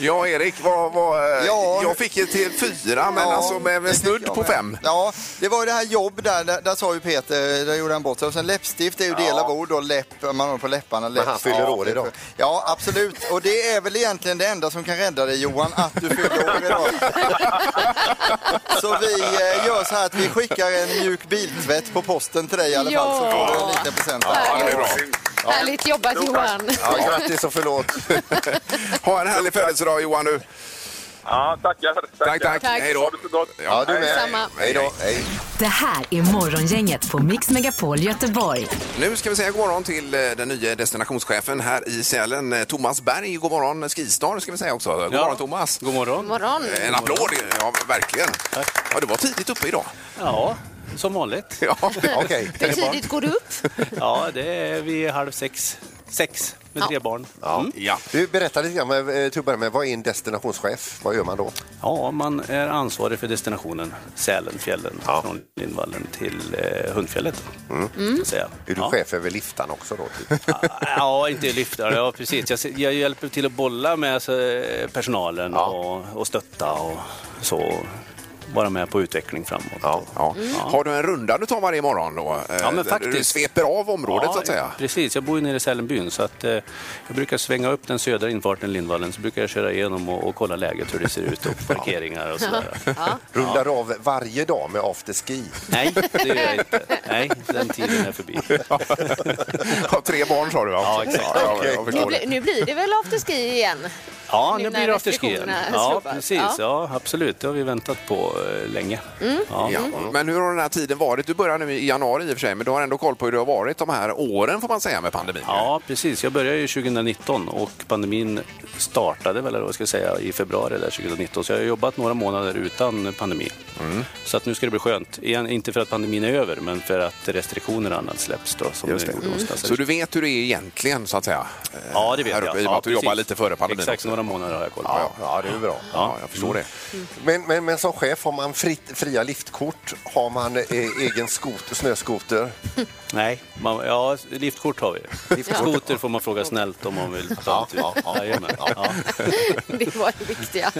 Speaker 3: ja Erik, vad, vad, eh,
Speaker 5: Ja.
Speaker 3: jag fick ju till fyra men
Speaker 5: Ja,
Speaker 3: alltså med med
Speaker 5: det
Speaker 3: snudd
Speaker 5: tycker jag
Speaker 3: på
Speaker 5: med.
Speaker 3: fem.
Speaker 5: Ja, det var ju det här jobb där, där, där sa ju Peter, där gjorde han bort sig. Och sen läppstift är ju del av ord då, läpp, man har på läpparna. Läpp,
Speaker 4: han fyller år idag.
Speaker 5: Ja, absolut. Och det är väl egentligen det enda som kan rädda dig Johan, att du fyller år idag. Så vi eh, gör så här att vi skickar en mjuk biltvätt på posten till dig i alla fall, så får du en liten present.
Speaker 3: Ja, det
Speaker 6: Härligt.
Speaker 3: är bra.
Speaker 6: Härligt jobbat Johan.
Speaker 4: Ja, grattis och förlåt.
Speaker 3: Ha en härlig födelsedag Johan nu.
Speaker 7: Ja, tackar.
Speaker 3: Tack, tack.
Speaker 6: Tack.
Speaker 3: Hej då.
Speaker 7: Ha det så gott.
Speaker 4: Ja, du med.
Speaker 6: Samma.
Speaker 4: Hej då. Hej.
Speaker 2: Det här är Morgongänget på Mix Megapol Göteborg.
Speaker 3: Nu ska vi säga god morgon till eh, den nya destinationschefen här i Sälen, eh, Thomas Berg. God morgon eh, Skistar ska vi säga också. God morgon Thomas.
Speaker 8: God morgon.
Speaker 6: God morgon.
Speaker 3: Eh, En applåd, ja verkligen. Ja, du var tidigt uppe idag.
Speaker 8: Ja, som vanligt.
Speaker 3: Ja,
Speaker 4: Okej.
Speaker 6: Hur tidigt går du upp?
Speaker 8: Ja, det är vid halv sex. Sex med tre barn. Mm.
Speaker 3: ja.
Speaker 4: Du berättar lite grann, eh, till att börja med, vad är en destinationschef? Vad gör man då?
Speaker 8: Ja, man är ansvarig för destinationen Sälen, fjällen, från Lindvallen till eh, Hundfjället.
Speaker 3: Mm.
Speaker 8: Så att säga.
Speaker 4: Är du
Speaker 8: ja.
Speaker 4: chef över liftan också då? typ?
Speaker 8: Ja, inte lyftare. Ja, precis. Jag, jag hjälper till att bolla med alltså, personalen och, och stötta och så. vara med på utveckling framåt. Mm.
Speaker 3: Ja. Ja. Har du en runda du tar varje morgon då? Eh,
Speaker 8: Ja, men
Speaker 3: där Du
Speaker 8: faktiskt.
Speaker 3: sveper av området
Speaker 8: Ja,
Speaker 3: så att säga?
Speaker 8: Precis, jag bor ju nere i Sälenbyn så att, eh, jag brukar svänga upp den södra infarten i Lindvallen så brukar jag köra igenom och, och kolla läget hur det ser ut och parkeringar och sådär.
Speaker 4: Rundar av varje dag med afterski.
Speaker 8: Nej, det gör jag inte. Nej, den tiden är förbi.
Speaker 3: Har tre barn sa du va?
Speaker 8: Ja, exakt.
Speaker 3: Ja, jag,
Speaker 4: Okej.
Speaker 3: jag
Speaker 6: Nu,
Speaker 3: förstår det.
Speaker 6: bli, nu blir det väl afterski igen? Mm.
Speaker 8: Ja,
Speaker 6: Nu
Speaker 8: nu
Speaker 6: när
Speaker 8: blir det afterski igen.
Speaker 6: restriktionerna
Speaker 8: Ja,
Speaker 6: slopas.
Speaker 8: precis.
Speaker 6: Ja.
Speaker 8: Ja, absolut. Det har vi väntat på eh, länge. Ja. Mm.
Speaker 3: Ja. Men hur har den här tiden varit? Du börjar nu i januari i och för sig, men du har ändå koll på hur det har varit de här åren får man säga med pandemin.
Speaker 8: Ja, precis. Jag började ju 2019 och pandemin startade väl, eller vad ska jag säga, i februari där 2019. Så jag har jobbat några månader utan pandemi.
Speaker 3: Mm.
Speaker 8: Så att nu ska det bli skönt. Igen, inte för att pandemin är över, men för att restriktioner och annat släpps. Då, som
Speaker 3: Just det. Mm.
Speaker 8: det gjorde onsdags.
Speaker 3: Så du vet hur det är egentligen så att säga? eh,
Speaker 8: Ja, det vet
Speaker 3: här
Speaker 8: jag.
Speaker 3: uppe, I och med
Speaker 8: ja,
Speaker 3: att du jobbar
Speaker 8: precis.
Speaker 3: lite före pandemin
Speaker 8: Exakt,
Speaker 3: också.
Speaker 8: några månader har jag koll på. Mm.
Speaker 4: Ja, ja, det är ju bra.
Speaker 3: Ja, jag förstår det.
Speaker 4: Men, men, men som chef, har man fritt, fria liftkort? Har man eh, egen skoter, snöskoter?
Speaker 8: Nej, man, ja, liftkort har vi. Skoter får man fråga snällt om man vill ta en tur.
Speaker 4: Ja, ja, ja.
Speaker 8: Jajamän. ja,
Speaker 6: Det var det viktiga.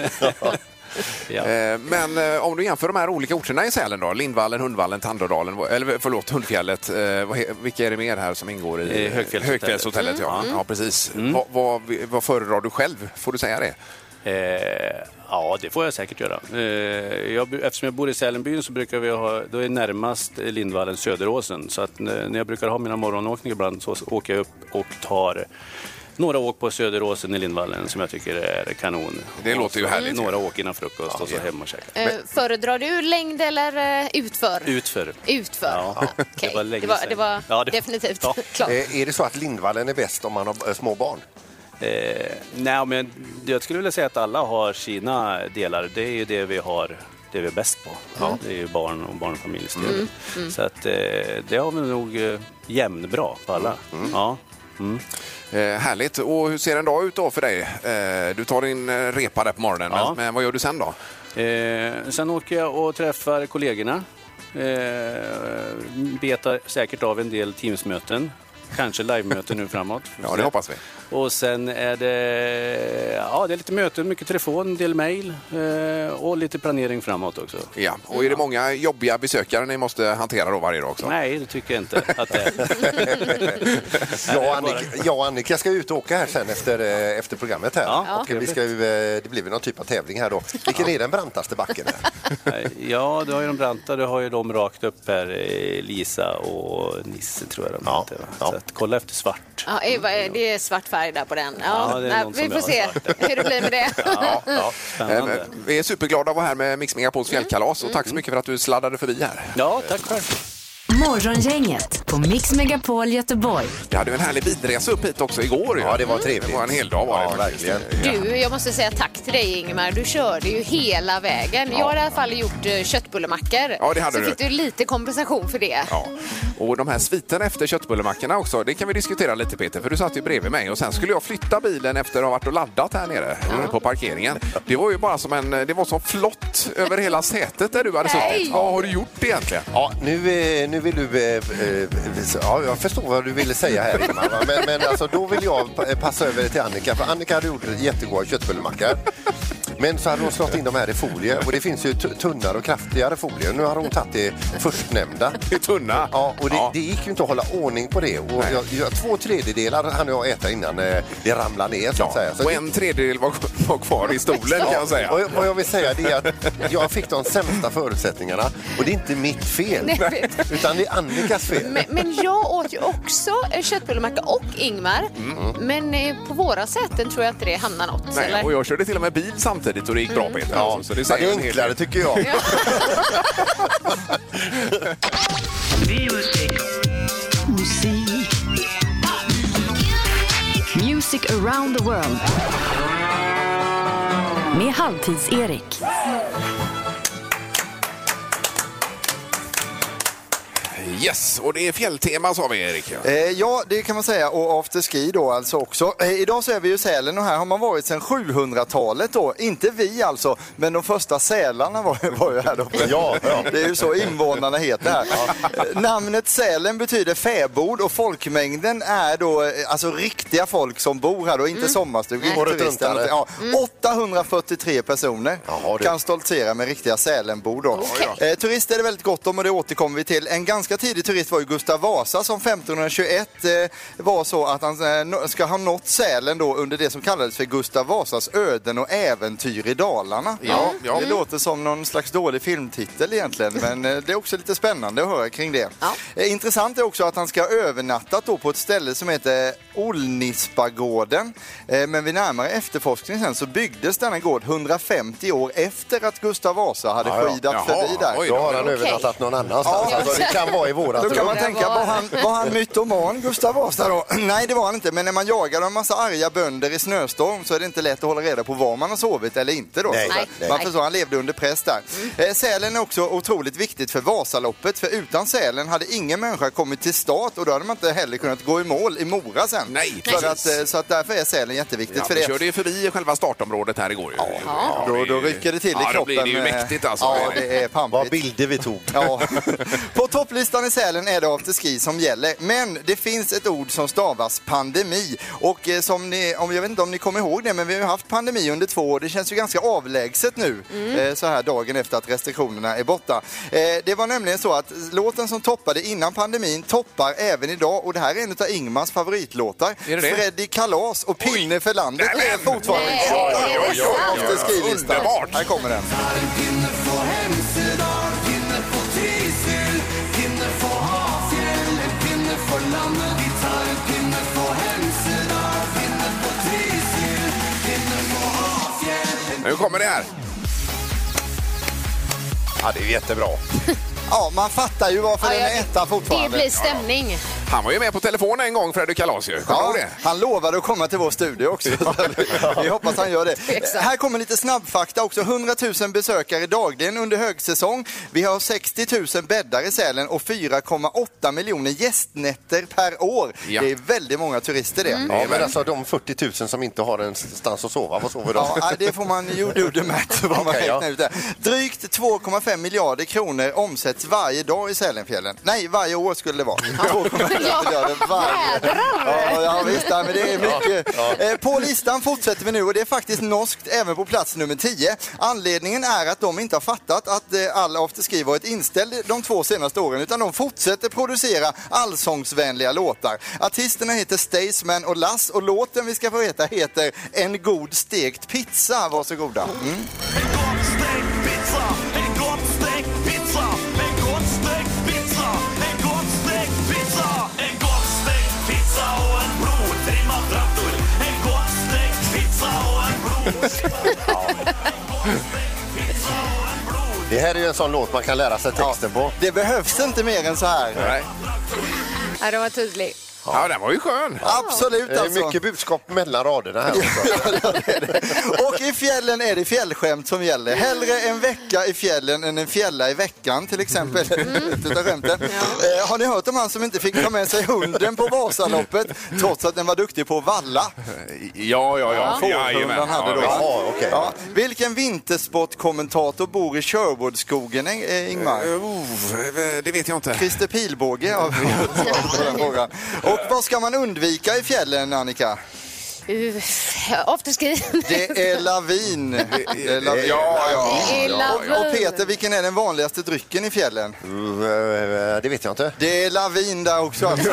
Speaker 8: ja.
Speaker 3: Eh, Men eh, om du jämför de här olika orterna i Sälen då? Lindvallen, Hundvallen, Tandådalen, vad- eller förlåt, Hundfjället. eh, vad he- Vilka är det mer här som ingår i
Speaker 8: Eh, Högfjällshotellet. Mm.
Speaker 3: Högfjällshotellet? Ja. ja, precis. Vad, vad, vad föredrar du själv? Får du säga det?
Speaker 8: Eh, ja, det får jag säkert göra. Eh, jag, eftersom jag bor i Sälenbyn så brukar vi ha, då är närmast Lindvallen Söderåsen. Så att eh, när jag brukar ha mina morgonåkningar ibland så åker jag upp och tar några åk på Söderåsen i Lindvallen som jag tycker är kanon.
Speaker 3: Det låter ju härligt.
Speaker 8: Några åk innan frukost och så hem och käka.
Speaker 6: Eh, Föredrar du längd eller eh, utför?
Speaker 8: Utför.
Speaker 6: Utför?
Speaker 8: Ja,
Speaker 6: Ja, okej.
Speaker 8: det var länge
Speaker 6: det var,
Speaker 8: sedan.
Speaker 6: det var
Speaker 8: Ja, det-
Speaker 6: definitivt
Speaker 8: Ja.
Speaker 6: klart.
Speaker 4: Eh, är det så att Lindvallen är bäst om man har eh, små barn?
Speaker 8: Eh, nej, men jag skulle vilja säga att alla har sina delar. Det är ju det vi har det vi är bäst på. Det är ju barn och barnfamiljsdelen.
Speaker 6: Mm.
Speaker 3: Mm.
Speaker 8: Så att eh, det har vi nog eh, jämnbra på alla.
Speaker 3: Mm.
Speaker 8: Ja. Mm.
Speaker 3: Eh, Härligt. Och hur ser en dag ut då för dig? Eh, Du tar din eh, repa där på morgonen,
Speaker 8: Ja.
Speaker 3: men- men vad gör du sen då?
Speaker 8: Eh, sen åker jag och träffar kollegorna. Eh, betar säkert av en del Teamsmöten. Kanske livemöten nu framåt. Får vi se.
Speaker 3: Ja, det hoppas vi.
Speaker 8: Och sen är det, ja, det är lite möten, mycket telefon, en del mejl eh, och lite planering framåt också.
Speaker 3: Ja. Och är det många jobbiga besökare ni måste hantera då varje dag också?
Speaker 8: Nej, det tycker jag inte att det är.
Speaker 4: Jag och, Annika, jag och Annika ska ut och åka här sen efter, eh, efter programmet här.
Speaker 8: Ja,
Speaker 4: och vi ska ju, eh, det blir väl någon typ av tävling här då. Vilken är den brantaste backen? Här?
Speaker 8: Nej, Ja, du har ju de branta, du har ju de rakt upp här, eh, Lisa och Nisse tror jag de
Speaker 4: Ja,
Speaker 8: heter. Va?
Speaker 4: ja.
Speaker 8: Så att, kolla efter svart.
Speaker 6: Ja, eh, vad är- det är svart färg där på den. Ja,
Speaker 8: Ja, det är
Speaker 6: nej,
Speaker 8: någon
Speaker 6: vi
Speaker 8: som
Speaker 6: får
Speaker 8: jag
Speaker 6: se
Speaker 8: har svart
Speaker 6: hur det blir med det. Mm.
Speaker 8: Ja, ja.
Speaker 3: Eh,
Speaker 8: Spännande.
Speaker 3: men Vi är superglada att vara här med Mix Megapols fjällkalas och tack
Speaker 6: Mm.
Speaker 3: så mycket för att du sladdade förbi här.
Speaker 8: Ja, tack själv.
Speaker 2: Morgongänget på Mix Megapol Göteborg.
Speaker 3: Vi hade ju en härlig bilresa upp hit också igår. ju.
Speaker 4: Ja, det var trevligt.
Speaker 3: Det var en hel dag var det
Speaker 4: Ja,
Speaker 3: faktiskt.
Speaker 4: verkligen.
Speaker 6: Du, jag måste säga tack till dig Ingmar. Du körde ju hela vägen. Jag har i alla fall gjort eh, köttbullemackor.
Speaker 3: Ja, det hade
Speaker 6: så
Speaker 3: du.
Speaker 6: fick du lite kompensation för det.
Speaker 3: Ja. Och de här sviterna efter köttbullemackorna också, det kan vi diskutera lite Peter, för du satt ju bredvid mig och sen skulle jag flytta bilen efter att ha varit och laddat här nere eh, på parkeringen. Det var ju bara som en, det var som flott över hela sätet där du hade
Speaker 6: Nej.
Speaker 3: suttit. Vad har du gjort egentligen?
Speaker 4: Ja, nu, eh, nu vill du... eh, eh, Ja, jag förstår vad du ville säga här, Ingmar. va? Men, men alltså, då vill jag pa- eh, passa över det till Annika. För Annika hade gjort jättegoda köttbullemackor. Men så hade hon slått in de här i folie. Och det finns ju tu- tunnare och kraftigare folie. Nu har hon tagit det förstnämnda.
Speaker 3: Det är tunna.
Speaker 4: Ja, och det,
Speaker 3: Ja.
Speaker 4: det gick ju inte att hålla ordning på det. Och jag, jag, två tredjedelar hann jag äta innan eh, det ramlade ner, så att säga. Så
Speaker 3: Och en tredjedel var, var kvar i stolen kan jag säga.
Speaker 4: och jag- vad jag vill säga det är att jag fick de sämsta förutsättningarna och det är inte mitt fel,
Speaker 6: Nej, vet-
Speaker 4: utan det är Annikas fel.
Speaker 6: Men, men jag åt ju också eh, köttbullemacka och Ingmar. Men eh, på våra säten tror jag inte det hamnar något.
Speaker 3: Mm. Nej,
Speaker 6: eller?
Speaker 3: och jag körde till och med bil samtidigt och det gick bra Peter.
Speaker 4: Mm. Ja,
Speaker 3: alltså,
Speaker 4: det,
Speaker 3: säger
Speaker 4: är
Speaker 3: en hel del.
Speaker 4: enklare tycker jag.
Speaker 2: Music around the world. Med Halvtids-Erik.
Speaker 3: Yes, och det är fjälltema sa vi Erik.
Speaker 5: Eh, ja, det kan man säga och afterski då alltså också. Eh, idag så är vi ju i Sälen och här har man varit sedan 700-talet då. Inte vi alltså, men de första sälarna var, ju- var ju här då.
Speaker 4: Ja, ja.
Speaker 5: Det är ju så invånarna heter här. Eh, Namnet Sälen betyder fäbod och folkmängden är då eh, alltså riktiga folk som bor här då, inte
Speaker 4: Mm.
Speaker 5: sommarstugor,
Speaker 4: Och
Speaker 5: inte
Speaker 4: runt
Speaker 5: turister.
Speaker 4: runtare.
Speaker 5: eller någonting. Ja, 843 personer
Speaker 4: Mm. Jaha, du.
Speaker 5: kan stoltsera med riktiga Sälenbor då.
Speaker 6: Okej.
Speaker 5: Eh, turister är det väldigt gott om och det återkommer vi till. En ganska tidig turist var ju Gustav Vasa som 1521 eh, var så att han eh, nå- ska ha nått Sälen då under det som kallades för Gustav Vasas öden och äventyr i Dalarna.
Speaker 3: Ja, ja.
Speaker 5: Mm. Det låter som någon slags dålig filmtitel egentligen men eh, det är också lite spännande att höra kring det.
Speaker 6: Ja.
Speaker 5: Eh, Intressant är också att han ska ha övernattat då på ett ställe som heter Olnispagården. Eh, Men vid närmare efterforskning sen så byggdes denna gård 150 år efter att Gustav Vasa hade
Speaker 4: Ja, ja.
Speaker 5: skidat
Speaker 3: Jaha,
Speaker 5: förbi där.
Speaker 3: oj
Speaker 4: Då har han
Speaker 6: Okej.
Speaker 4: övernattat någon annanstans.
Speaker 5: Ja.
Speaker 4: Alltså, det kan vara i vårat
Speaker 5: Då kan man
Speaker 4: rum.
Speaker 5: tänka, var han, var han mytoman Gustav Vasa då? Nej det var han inte, men när man jagar en massa arga bönder i snöstorm så är det inte lätt att hålla reda på var man har sovit eller inte då.
Speaker 4: Nej,
Speaker 5: Så att
Speaker 4: nej. Mm.
Speaker 5: Man förstår, han levde under press där. Eh, Sälen är också otroligt viktigt för Vasaloppet, för utan Sälen hade ingen människa kommit till start och då hade man inte heller kunnat gå i mål i Mora sen.
Speaker 3: Nej,
Speaker 5: för att,
Speaker 3: precis.
Speaker 5: eh, så att därför är Sälen jätteviktigt
Speaker 3: Ja,
Speaker 5: för
Speaker 3: vi
Speaker 5: det.
Speaker 3: körde ju förbi själva startområdet här igår. Ju. Ja.
Speaker 5: Då,
Speaker 3: det-
Speaker 5: då rycker det till i
Speaker 3: ja,
Speaker 5: kroppen.
Speaker 3: Då blir det ju
Speaker 5: eh,
Speaker 3: mäktigt alltså.
Speaker 5: Ja, det är pampigt.
Speaker 4: Vad bilder vi tog.
Speaker 5: Ja. På topplistan i Sälen är det afterski som gäller. Men det finns ett ord som stavas pandemi. Och eh, som ni, om, jag vet inte om ni kommer ihåg det, men vi har ju haft pandemi under två år. Det känns ju ganska avlägset nu, eh, så här dagen efter att restriktionerna är borta. Eh, det var nämligen så att låten som toppade innan pandemin toppar även idag. Och det här är en av Ingmars favoritlåtar.
Speaker 3: Är det det?
Speaker 5: Freddy Kalas och Pinne för landet
Speaker 3: Nej,
Speaker 5: är
Speaker 3: men-
Speaker 5: fortfarande
Speaker 6: Nej,
Speaker 5: kvar
Speaker 6: är det
Speaker 5: på
Speaker 6: sant?
Speaker 5: afterski-listan.
Speaker 3: Underbart!
Speaker 5: Här kommer den.
Speaker 3: Nu kommer det här. Ja, det är jättebra.
Speaker 5: Ja, man fattar ju varför
Speaker 6: Ja,
Speaker 5: den
Speaker 6: ja,
Speaker 5: är etta
Speaker 6: Det
Speaker 5: fortfarande.
Speaker 6: blir stämning.
Speaker 3: Han var ju med på telefon en gång, Freddy Kalas ju. Kommer
Speaker 5: Ja,
Speaker 3: du det?
Speaker 5: han lovade att komma till vår studio också. Vi hoppas han gör det.
Speaker 6: Tveksamt.
Speaker 5: Här kommer lite snabbfakta också. 100 000 besökare dagligen under högsäsong. Vi har 60 000 bäddar i Sälen och 4,8 miljoner gästnätter per år.
Speaker 3: Ja.
Speaker 5: Det är väldigt många turister det.
Speaker 4: Ja,
Speaker 3: Mm.
Speaker 4: men alltså de 40 000 som inte har en stans att sova, vad sover de?
Speaker 5: Ja, nej, det får man ju do the math, vad man
Speaker 4: Okej, ja.
Speaker 5: räknar ut där. Drygt 2,5 miljarder kronor omsätts varje dag i Sälenfjällen. Nej, varje år skulle det vara. 2,5 miljarder varje Ja, ja, visst, nej, men det är mycket. Eh, På listan fortsätter vi nu och det är faktiskt norskt även på plats nummer 10. Anledningen är att de inte har fattat att eh, all afterski varit inställd de två senaste åren utan de fortsätter producera allsångsvänliga låtar. Artisterna heter Staysman och Lass och låten vi ska få veta heter En god stekt pizza. Varsågoda. Mm.
Speaker 4: Det här är ju en sån låt man kan lära sig texten på.
Speaker 5: Det behövs inte mer än så här.
Speaker 3: Nej.
Speaker 6: Ja, det var tydlig.
Speaker 3: Ja, den var ju skön.
Speaker 5: Absolut
Speaker 4: Det är
Speaker 5: alltså.
Speaker 4: Eh, mycket budskap mellan raderna här också.
Speaker 5: Och i fjällen är det fjällskämt som gäller. Hellre en vecka i fjällen än en fjälla i veckan till exempel. Ett utav skämten. Eh, har ni hört om han som inte fick ta med sig hunden på Vasaloppet trots att den var duktig på att valla?
Speaker 3: Ja, ja, ja.
Speaker 5: Fårhunden
Speaker 3: Jajamän.
Speaker 5: han hade då.
Speaker 3: Ja, visst.
Speaker 4: Jaha, okej.
Speaker 5: ja. Vilken vintersportkommentator bor i Sherwoodskogen, eh, Ingmar?
Speaker 3: Oh, det vet jag inte.
Speaker 5: Christer Pilbåge av på den frågan. Och vad ska man undvika i fjällen, Annika?
Speaker 6: Uh, Afterski.
Speaker 5: Det är lavin. Det är
Speaker 3: Ja,
Speaker 5: lavin.
Speaker 3: ja.
Speaker 6: Det är lavin.
Speaker 5: Och Peter, vilken är den vanligaste drycken i fjällen?
Speaker 4: Eh, Det vet jag inte.
Speaker 5: Det är lavin där också. Alltså.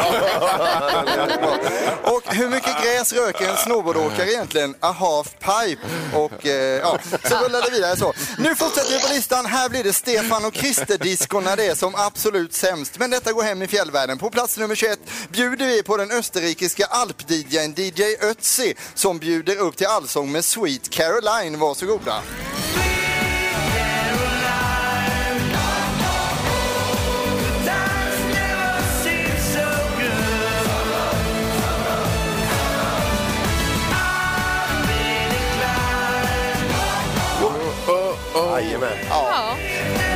Speaker 5: och hur mycket gräs röker en snowboardåkare egentligen? A half pipe. Och eh, ja, så rullar det vidare så. Nu fortsätter vi på listan. Här blir det Stefan och Christer-disco när det är som absolut sämst. Men detta går hem i fjällvärlden. På plats nummer 21 bjuder vi på den österrikiska alp-DJn DJ Ötzi som bjuder upp till allsång med Sweet Caroline. Varsågoda.
Speaker 4: Jajamän.
Speaker 3: Oh,
Speaker 6: Ja.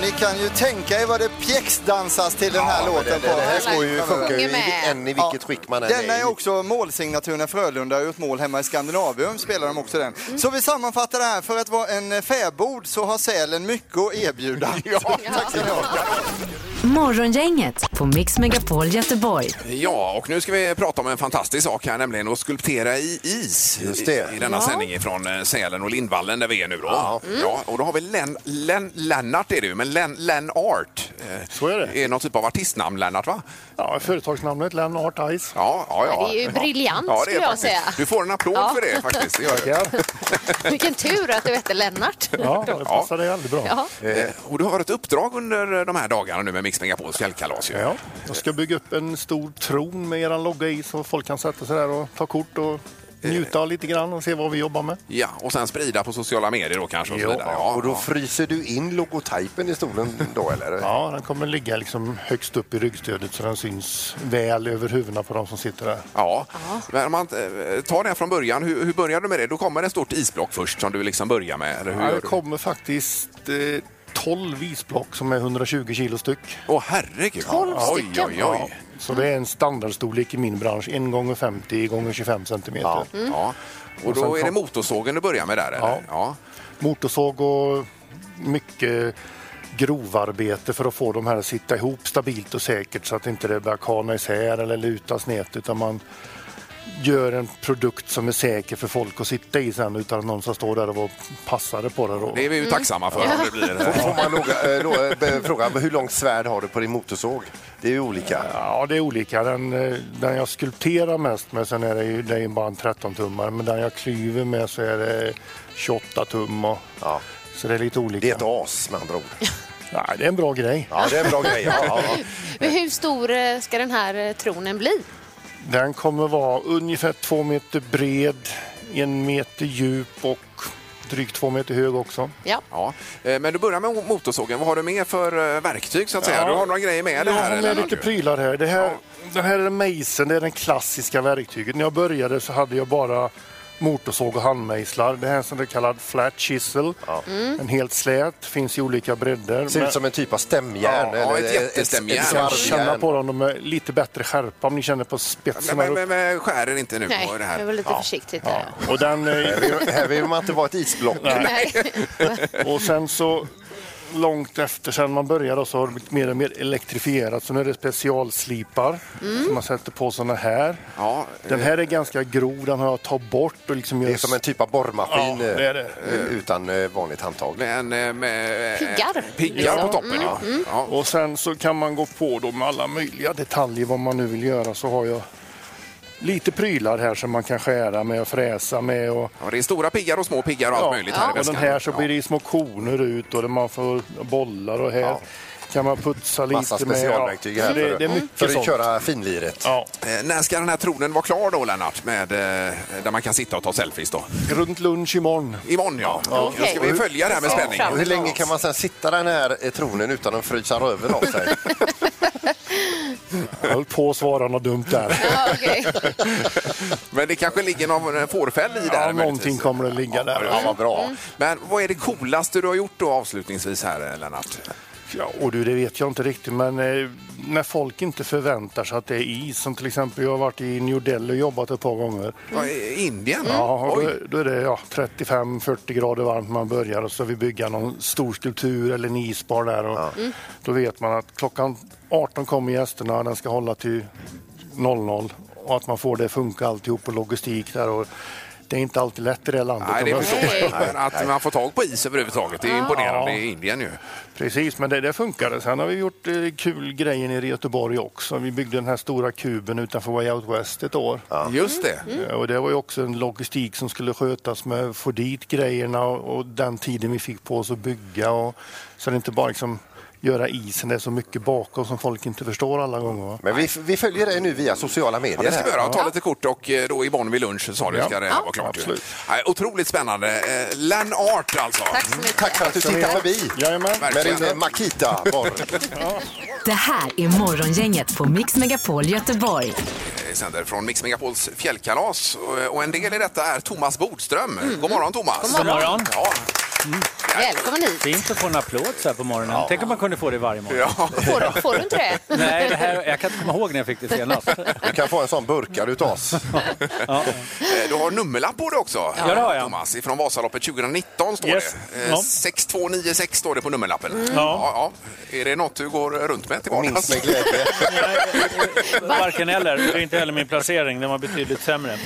Speaker 5: ni kan ju tänka er vad det pjäxdansas till den här låten
Speaker 4: Det här
Speaker 5: på.
Speaker 4: går ju, funkar ju i,
Speaker 6: med.
Speaker 4: än i vilket skick man än
Speaker 5: Denna
Speaker 4: i.
Speaker 5: är också målsignaturen när Frölunda har gjort mål hemma i Skandinavium. Spelar de också den. Så vi sammanfattar det här. För att vara en eh, fäbod så har Sälen mycket att erbjuda.
Speaker 3: Ja,
Speaker 5: Tack ska ni ha.
Speaker 2: Morgongänget på Mix Megapol Göteborg.
Speaker 3: Ja, och nu ska vi prata om en fantastisk sak här, nämligen att skulptera i is.
Speaker 4: Just det.
Speaker 3: I, i denna
Speaker 6: Ja.
Speaker 3: sändning från eh, Sälen och Lindvallen där vi är nu då. Ja,
Speaker 9: Mm.
Speaker 3: och då har vi Len, Len, Lennart är det ju, men Len, Lennart. eh,
Speaker 9: Så är det.
Speaker 3: Är någon typ av artistnamn, Lennart va?
Speaker 9: Ja, företagsnamnet Lennart Ice.
Speaker 3: Ja, ja, ja.
Speaker 6: Ja, det är ju briljant,
Speaker 3: det är
Speaker 6: skulle jag
Speaker 3: faktiskt.
Speaker 6: säga.
Speaker 3: Du får en applåd
Speaker 6: Ja.
Speaker 3: för det faktiskt. Det gör jag.
Speaker 9: Tackar.
Speaker 6: Vilken tur att du hette Lennart.
Speaker 9: Ja, det passar dig aldrig bra.
Speaker 6: Ja.
Speaker 3: Eh, Och du har ett uppdrag under de här dagarna nu med Mix Megapols fjällkalas. ju.
Speaker 9: Ja, jag ska bygga upp en stor tron med eran logga i så folk kan sätta sig där och ta kort och
Speaker 3: Eh.
Speaker 9: njuta lite grann och se vad vi jobbar med.
Speaker 3: ja, och sen sprida på sociala medier då kanske och så
Speaker 9: Ja,
Speaker 3: vidare. Ja,
Speaker 4: Och då
Speaker 3: ja.
Speaker 4: fryser du in logotypen i stolen då eller?
Speaker 9: Ja, den kommer ligga liksom högst upp i ryggstödet så den syns väl över huvudena på de som sitter där.
Speaker 3: Ja, men om man eh, tar det här från början, hur, hur börjar du med det? Då kommer det ett stort isblock först som du liksom börjar med, eller hur
Speaker 9: Ja,
Speaker 3: gör
Speaker 9: det
Speaker 3: du? Åh
Speaker 9: kommer faktiskt eh, 12 visblock som är 120 kilo styck.
Speaker 3: herregud!
Speaker 6: 12
Speaker 3: oj,
Speaker 6: stycken.
Speaker 3: oj, oj.
Speaker 9: Så det är en standardstorlek i min bransch, 1 gånger 50 gånger 25 centimeter.
Speaker 3: Ja. Och
Speaker 9: sen
Speaker 3: då är det
Speaker 9: kom-
Speaker 3: motorsågen du börjar med där, eller?
Speaker 9: Ja. motorsåg och mycket grovarbete för att få de här att sitta ihop stabilt och säkert så att inte det börjar kana isär eller luta snett utan man gör en produkt som är säker för folk att sitta i sen utan att någon ska stå där och vara passare på det då.
Speaker 3: Det är vi ju tacksamma för. Om det blir,
Speaker 4: Mm. Får man logga, eh, lo, eh, be- fråga hur långt svärd har du på din motorsåg? Det är ju olika.
Speaker 9: Ja, det är olika. Den, eh, den jag skulpterar mest med, sen är det ju det är ju bara en 13-tummare, men den jag klyver med så är det 28 tum och,
Speaker 4: Ja.
Speaker 9: Så det är lite olika.
Speaker 4: Det är ett as med andra ord.
Speaker 9: Nej, det är en bra grej.
Speaker 4: Ja, det är en bra grej. Ja, ja, ja.
Speaker 6: Men Hur stor eh, ska den här eh, tronen bli?
Speaker 9: Den kommer vara ungefär två meter bred, en meter djup och drygt två meter hög också.
Speaker 6: Ja.
Speaker 3: ja. Eh, Men du börjar med motorsågen. Vad har du med för eh, verktyg, så att säga?
Speaker 9: Ja.
Speaker 3: Du har några grejer med
Speaker 9: Jag
Speaker 3: dig här?
Speaker 9: har med
Speaker 3: eller?
Speaker 9: lite prylar här. Det här, det här är mejseln, det är det klassiska verktyget. När jag började så hade jag bara motorsåg och handmejslar. Det här är en sån där kallad flat chisel. Mm. En helt slät, finns i olika bredder.
Speaker 4: Ser
Speaker 9: Men-
Speaker 4: ut som en typ av stämjärn.
Speaker 3: Ja, ja, ett
Speaker 4: eller
Speaker 3: jättestämjärn.
Speaker 4: ett
Speaker 9: Kan
Speaker 4: skarvjärn.
Speaker 9: känna på dem, de är lite bättre skärpa om ni känner på
Speaker 3: Men,
Speaker 9: spetsen här
Speaker 3: men,
Speaker 9: uppe.
Speaker 3: men, men skär er inte nu
Speaker 6: Nej,
Speaker 3: på det
Speaker 6: det
Speaker 3: här.
Speaker 6: var lite försiktigt där.
Speaker 9: Och den, eh,
Speaker 4: Här vill man inte vara ett isblock.
Speaker 6: Nej.
Speaker 9: Och sen så långt efter sen man började så har det blivit mer och mer elektrifierat. Så nu är det specialslipar som man sätter på sådana här.
Speaker 3: Ja,
Speaker 9: Den här är ganska grov, den har jag tagit bort och liksom
Speaker 4: eh. Det är som en typ av borrmaskin
Speaker 9: Ja, det är det.
Speaker 4: eh, utan eh, vanligt handtag.
Speaker 3: Men, eh, med,
Speaker 6: Piggar.
Speaker 3: Piggar på
Speaker 6: Liksom.
Speaker 3: toppen, ja. ja.
Speaker 9: Mm. Och sen så kan man gå på då med alla möjliga detaljer vad man nu vill göra. Så har jag lite prylar här som man kan skära med och fräsa med. Och,
Speaker 3: Ja, det är stora piggar och små piggar och allt möjligt här i
Speaker 9: och den
Speaker 3: väskan.
Speaker 9: här så
Speaker 3: Ja.
Speaker 9: blir det små koner ut och där man får bollar och här kan man putsa lite
Speaker 4: Massa
Speaker 9: med. ja.
Speaker 4: specialverktyg
Speaker 9: Så
Speaker 4: här
Speaker 9: det,
Speaker 4: för,
Speaker 9: det är mycket
Speaker 4: för att
Speaker 9: sånt.
Speaker 4: köra finliret.
Speaker 9: Ja.
Speaker 3: Eh, När ska den här tronen vara klar då, Lennart? Med, eh, där man kan sitta och ta selfies då?
Speaker 9: Runt lunch imorgon.
Speaker 3: Imorgon, ja. Då
Speaker 6: Okej.
Speaker 3: ska vi följa det här med
Speaker 6: Ja.
Speaker 3: spänning.
Speaker 4: Och hur länge kan man sen sitta den här eh, tronen utan att frysa röven av sig?
Speaker 9: Jag höll på att svara något dumt där.
Speaker 6: Ja, okej.
Speaker 3: Men det kanske ligger någon eh, fårfäll i där.
Speaker 9: Ja, någonting kommer att ligga där.
Speaker 4: Ja, vad bra.
Speaker 3: Men vad är det coolaste du har gjort då avslutningsvis här, eh, Lennart?
Speaker 9: Ja, och du, det vet jag inte riktigt, men eh, när folk inte förväntar sig att det är is, som till exempel jag har varit i New Delhi och jobbat ett par gånger.
Speaker 3: Ja, i- Indien?
Speaker 9: Ja, då,
Speaker 3: Oj.
Speaker 9: då är det ja, 35-40 grader varmt när man börjar och så vi bygger någon stor skulptur eller en isbar där. Och Mm. Då vet man att klockan 18 kommer gästerna och den ska hålla till 00 och att man får det att funka alltihop och logistik där. Och det är inte alltid lätt i det här landet.
Speaker 3: Nej,
Speaker 9: om
Speaker 3: det
Speaker 9: jag
Speaker 3: förstår
Speaker 9: säger så.
Speaker 3: jag. Men att man får tag på is överhuvudtaget, det är imponerande i Indien ju.
Speaker 9: Precis, men det, det funkade. Sen har vi gjort eh, kul grejer nere i Göteborg också. Vi byggde den här stora kuben utanför Way Out West ett år.
Speaker 3: Just det.
Speaker 9: Eh, Och det var ju också en logistik som skulle skötas med att få dit grejerna och, och den tiden vi fick på oss att bygga. Och, så det är inte bara liksom göra isen, det är så mycket bakom som folk inte förstår alla gånger. Va?
Speaker 4: Men vi, vi följer dig nu via sociala medier.
Speaker 3: Det ska vi
Speaker 4: här.
Speaker 3: göra. Ta lite kort och eh, då imorgon vid lunch sa du ska det här vara klart. ju.
Speaker 9: absolut.
Speaker 3: Nej, Otroligt spännande. Eh, Lennart alltså.
Speaker 6: Tack så mycket.
Speaker 4: Tack för att du tittade förbi.
Speaker 9: Jajamän.
Speaker 4: Med
Speaker 3: Verkligen.
Speaker 4: din eh, Makita. Borg.
Speaker 2: Det här är Morgongänget på Mix Megapol Göteborg.
Speaker 3: Eh, sänder från Mix Megapols Eh, fjällkalas. Och- Och en del i detta är Thomas Bodström. God morgon Thomas! God morgon! Ja.
Speaker 6: Välkommen hit.
Speaker 10: Fint att få en applåd så här på morgonen. Tänk om man kunde få det varje morgon.
Speaker 3: Ja.
Speaker 6: Får, du- får du inte det?
Speaker 10: Nej, det här, jag kan inte komma ihåg när jag fick det senast.
Speaker 4: Du kan få en sån burkad utav oss.
Speaker 3: Eh, Du har nummerlapp på dig också,
Speaker 10: Ja, det har jag.
Speaker 3: Thomas. Från Vasaloppet 2019 står
Speaker 10: Yes.
Speaker 3: det. Eh,
Speaker 10: Ja. Mm.
Speaker 3: 6296 står det på nummerlappen. Ja,
Speaker 10: Ja.
Speaker 3: ja. Är det något du går runt med till
Speaker 4: Minst
Speaker 3: vardags?
Speaker 4: med glädje.
Speaker 10: Varken eller. Det är inte heller min placering, den var betydligt sämre.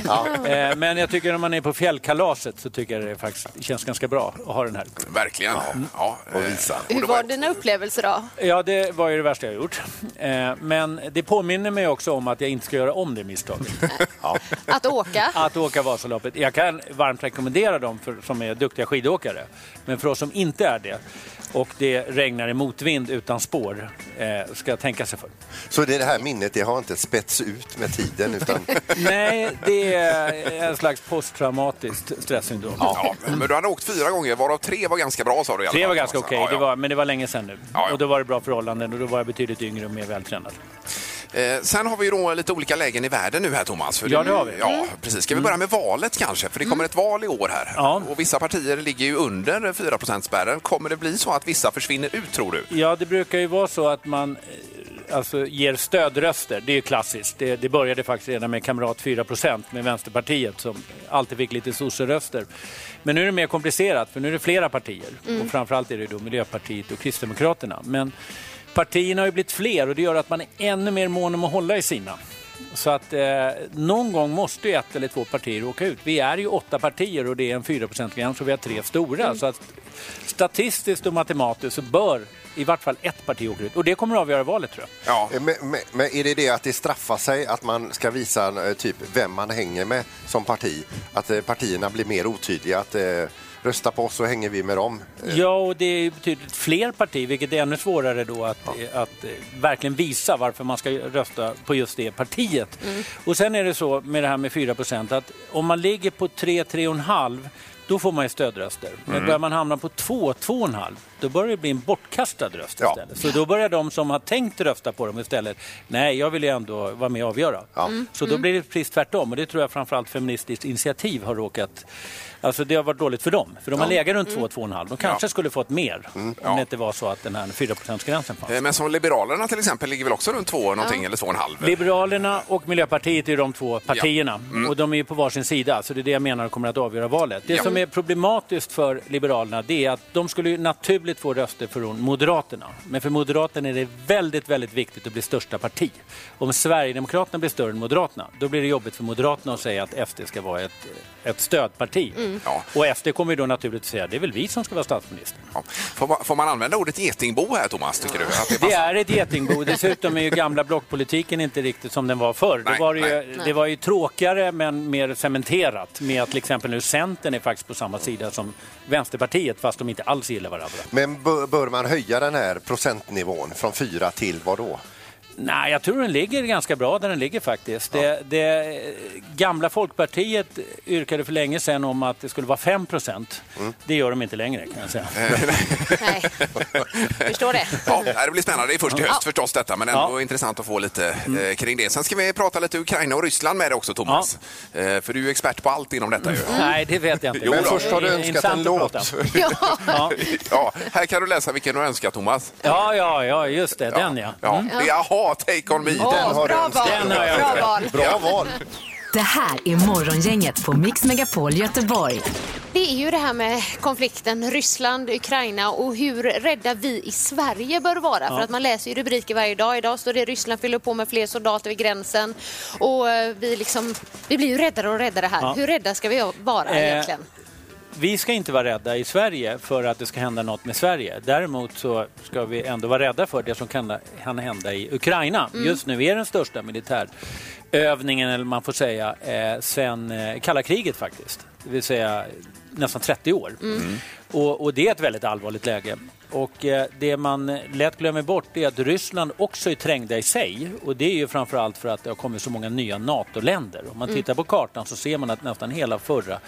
Speaker 10: Eh, Men jag tycker när man är på fjällkalaset så tycker jag det faktiskt känns ganska bra att ha den här.
Speaker 3: Verkligen.
Speaker 4: Mm.
Speaker 3: Ja.
Speaker 4: eh.
Speaker 3: Och visa.
Speaker 6: Hur var dina upplevelser då?
Speaker 10: Ja, det var ju det värsta jag gjort. Eh, Men det påminner mig också om att jag inte ska göra om det misstaget.
Speaker 6: Att åka?
Speaker 10: Att åka Vasaloppet. Jag kan varmt rekommendera dem för, som är duktiga skidåkare. Men för oss som inte är det och det regnar i motvind utan spår eh, ska tänka sig för.
Speaker 4: Så det här minnet det har inte spets ut med tiden utan
Speaker 10: Nej, det är en slags posttraumatiskt stresssyndrom.
Speaker 3: Ja, men du hade åkt fyra gånger, varav tre var ganska bra sa du. i alla
Speaker 10: Det var
Speaker 3: fall,
Speaker 10: ganska
Speaker 3: Thomas.
Speaker 10: okej,
Speaker 3: Ja, ja.
Speaker 10: det var- men det var länge sedan nu.
Speaker 3: Ja, ja.
Speaker 10: Och då var det bra förhållanden och då var jag betydligt yngre och mer vältränad.
Speaker 3: Eh, sen har vi ju då lite olika lägen i världen nu här Thomas. För
Speaker 10: Ja, det har vi.
Speaker 6: Mm.
Speaker 3: Ja, precis. Ska vi börja med valet kanske? För det kommer ett val i år här.
Speaker 10: Ja.
Speaker 3: Och vissa partier ligger ju under 4 spärren Kommer det bli så att vissa försvinner ut tror du?
Speaker 10: Ja, det brukar ju vara så att man eh, alltså, ger stödröster. Det är ju klassiskt. Det, det började faktiskt redan med Kamrat 4 med Vänsterpartiet som alltid fick lite sosseröster. Men nu är det mer komplicerat för nu är det flera partier. Och framförallt är det då Miljöpartiet och Kristdemokraterna. Men partierna har ju blivit fler och det gör att man är ännu mer mån om att hålla i sina. Så att eh, någon gång måste ju ett eller två partier åka ut. Vi är ju åtta partier och det är en 4%-gräns och vi har tre stora. Så att statistiskt och matematiskt så bör i vart fall ett parti åka ut. Och det kommer att avgöra valet tror jag.
Speaker 3: Ja.
Speaker 4: Eh, Men, men, men är det det att det straffar sig att man ska visa eh, typ vem man hänger med som parti? Att eh, partierna blir mer otydliga? Att eh, rösta på oss så hänger vi med dem?
Speaker 10: Ja, och det är ju betydligt fler partier, vilket är ännu svårare då att, eh, att eh, verkligen visa varför man ska rösta på just det partiet.
Speaker 9: Mm.
Speaker 10: Mm. Och sen är det så med det här med 4 att om man ligger på 3-3,5 då får man ju stödröster. Men börjar man hamna på 2-2,5 då börjar det bli en bortkastad röst
Speaker 4: Ja.
Speaker 10: istället. Så då börjar de som har tänkt rösta på dem istället, nej jag vill ju ändå vara med och avgöra. Mm. Så då blir det precis tvärtom och det tror jag framförallt Feministiskt initiativ har råkat Alltså det har varit dåligt för dem, för de har legat runt 2-2,5. De kanske skulle fått mer om det inte var så att den här 4%-gränsen fanns.
Speaker 3: Eh, Men som Liberalerna till exempel ligger väl också runt två någonting eller två och en halv?
Speaker 10: Liberalerna och Miljöpartiet är ju de två partierna och de är ju på varsin sida så det är det jag menar kommer att avgöra valet. Det
Speaker 3: Ja.
Speaker 10: som är problematiskt för Liberalerna det är att de skulle ju naturligt få röster från Moderaterna. Men för Moderaterna är det väldigt, väldigt viktigt att bli största parti. Om Sverigedemokraterna blir större än Moderaterna då blir det jobbigt för Moderaterna att säga att SD ska vara ett, ett stödparti.
Speaker 3: Ja.
Speaker 10: Och SD kommer ju då naturligt att säga det är väl vi som ska vara statsminister.
Speaker 3: Ja. Får, man, får man använda ordet getingbo här Thomas, tycker du? Att det
Speaker 10: Det
Speaker 3: passar?
Speaker 10: är ett getingbo. Dessutom är ju gamla blockpolitiken inte riktigt som den var förr.
Speaker 3: Nej,
Speaker 10: Då var det,
Speaker 3: nej.
Speaker 10: ju, det var ju tråkigare men mer cementerat med att till exempel nu Centern är faktiskt på samma sida som Vänsterpartiet fast de inte alls gillar varandra.
Speaker 4: Men bör, bör man höja den här procentnivån från fyra till vad då?
Speaker 10: Nej, jag tror den ligger ganska bra där den ligger faktiskt. Det, det eh, gamla Folkpartiet yrkade för länge sedan om att det skulle vara 5 procent.
Speaker 3: Mm.
Speaker 10: Det gör de inte längre kan jag säga.
Speaker 3: Eh.
Speaker 6: Nej. Förstår det.
Speaker 3: Ja, nej, det blir spännande. Det är först i höst förstås detta, men ändå
Speaker 10: Ja. Mm.
Speaker 3: intressant att få lite eh, kring det. Sen ska vi prata lite Ukraina och Ryssland med dig också, Thomas. Eh, för du är ju expert på allt inom detta ju.
Speaker 10: Nej, det vet jag inte.
Speaker 3: Jo
Speaker 4: Men
Speaker 10: Det är
Speaker 4: först har du önskat
Speaker 10: intressant
Speaker 4: en
Speaker 10: att prata.
Speaker 4: låt.
Speaker 6: Ja.
Speaker 3: Ja, här kan du läsa vilken du önskar, Thomas.
Speaker 10: Ja, ja, ja, just det. Den ja. Mm.
Speaker 3: Ja, det är Aha, Take On Me.
Speaker 6: Åh, bra
Speaker 4: har du önskat.
Speaker 6: val.
Speaker 10: Den har jag
Speaker 6: Bra
Speaker 10: önskat.
Speaker 6: val.
Speaker 4: Bra val!
Speaker 2: Det här är Morgongänget på Mix Megapol Göteborg.
Speaker 6: Det är ju det här med konflikten Ryssland-Ukraina och hur rädda vi i Sverige bör vara. För att man läser ju rubriker varje dag. Idag står det Ryssland fyller på med fler soldater vid gränsen. Och eh, vi, liksom, vi blir ju räddare och räddare här.
Speaker 10: Ja.
Speaker 6: Hur rädda ska vi vara
Speaker 10: Eh,
Speaker 6: egentligen?
Speaker 10: vi ska inte vara rädda i Sverige för att det ska hända något med Sverige. Däremot så ska vi ändå vara rädda för det som kan, kan hända i Ukraina. Just nu är den största militärövningen, eller man får säga, eh, sen eh, kalla kriget faktiskt. Det vill säga nästan 30 år. Och, och det är ett väldigt allvarligt läge. Och eh, det man lätt glömmer bort är att Ryssland också är trängda i sig. Och det är ju framförallt för att det har kommit så många nya NATO-länder. Om man tittar på kartan så ser man att nästan hela förra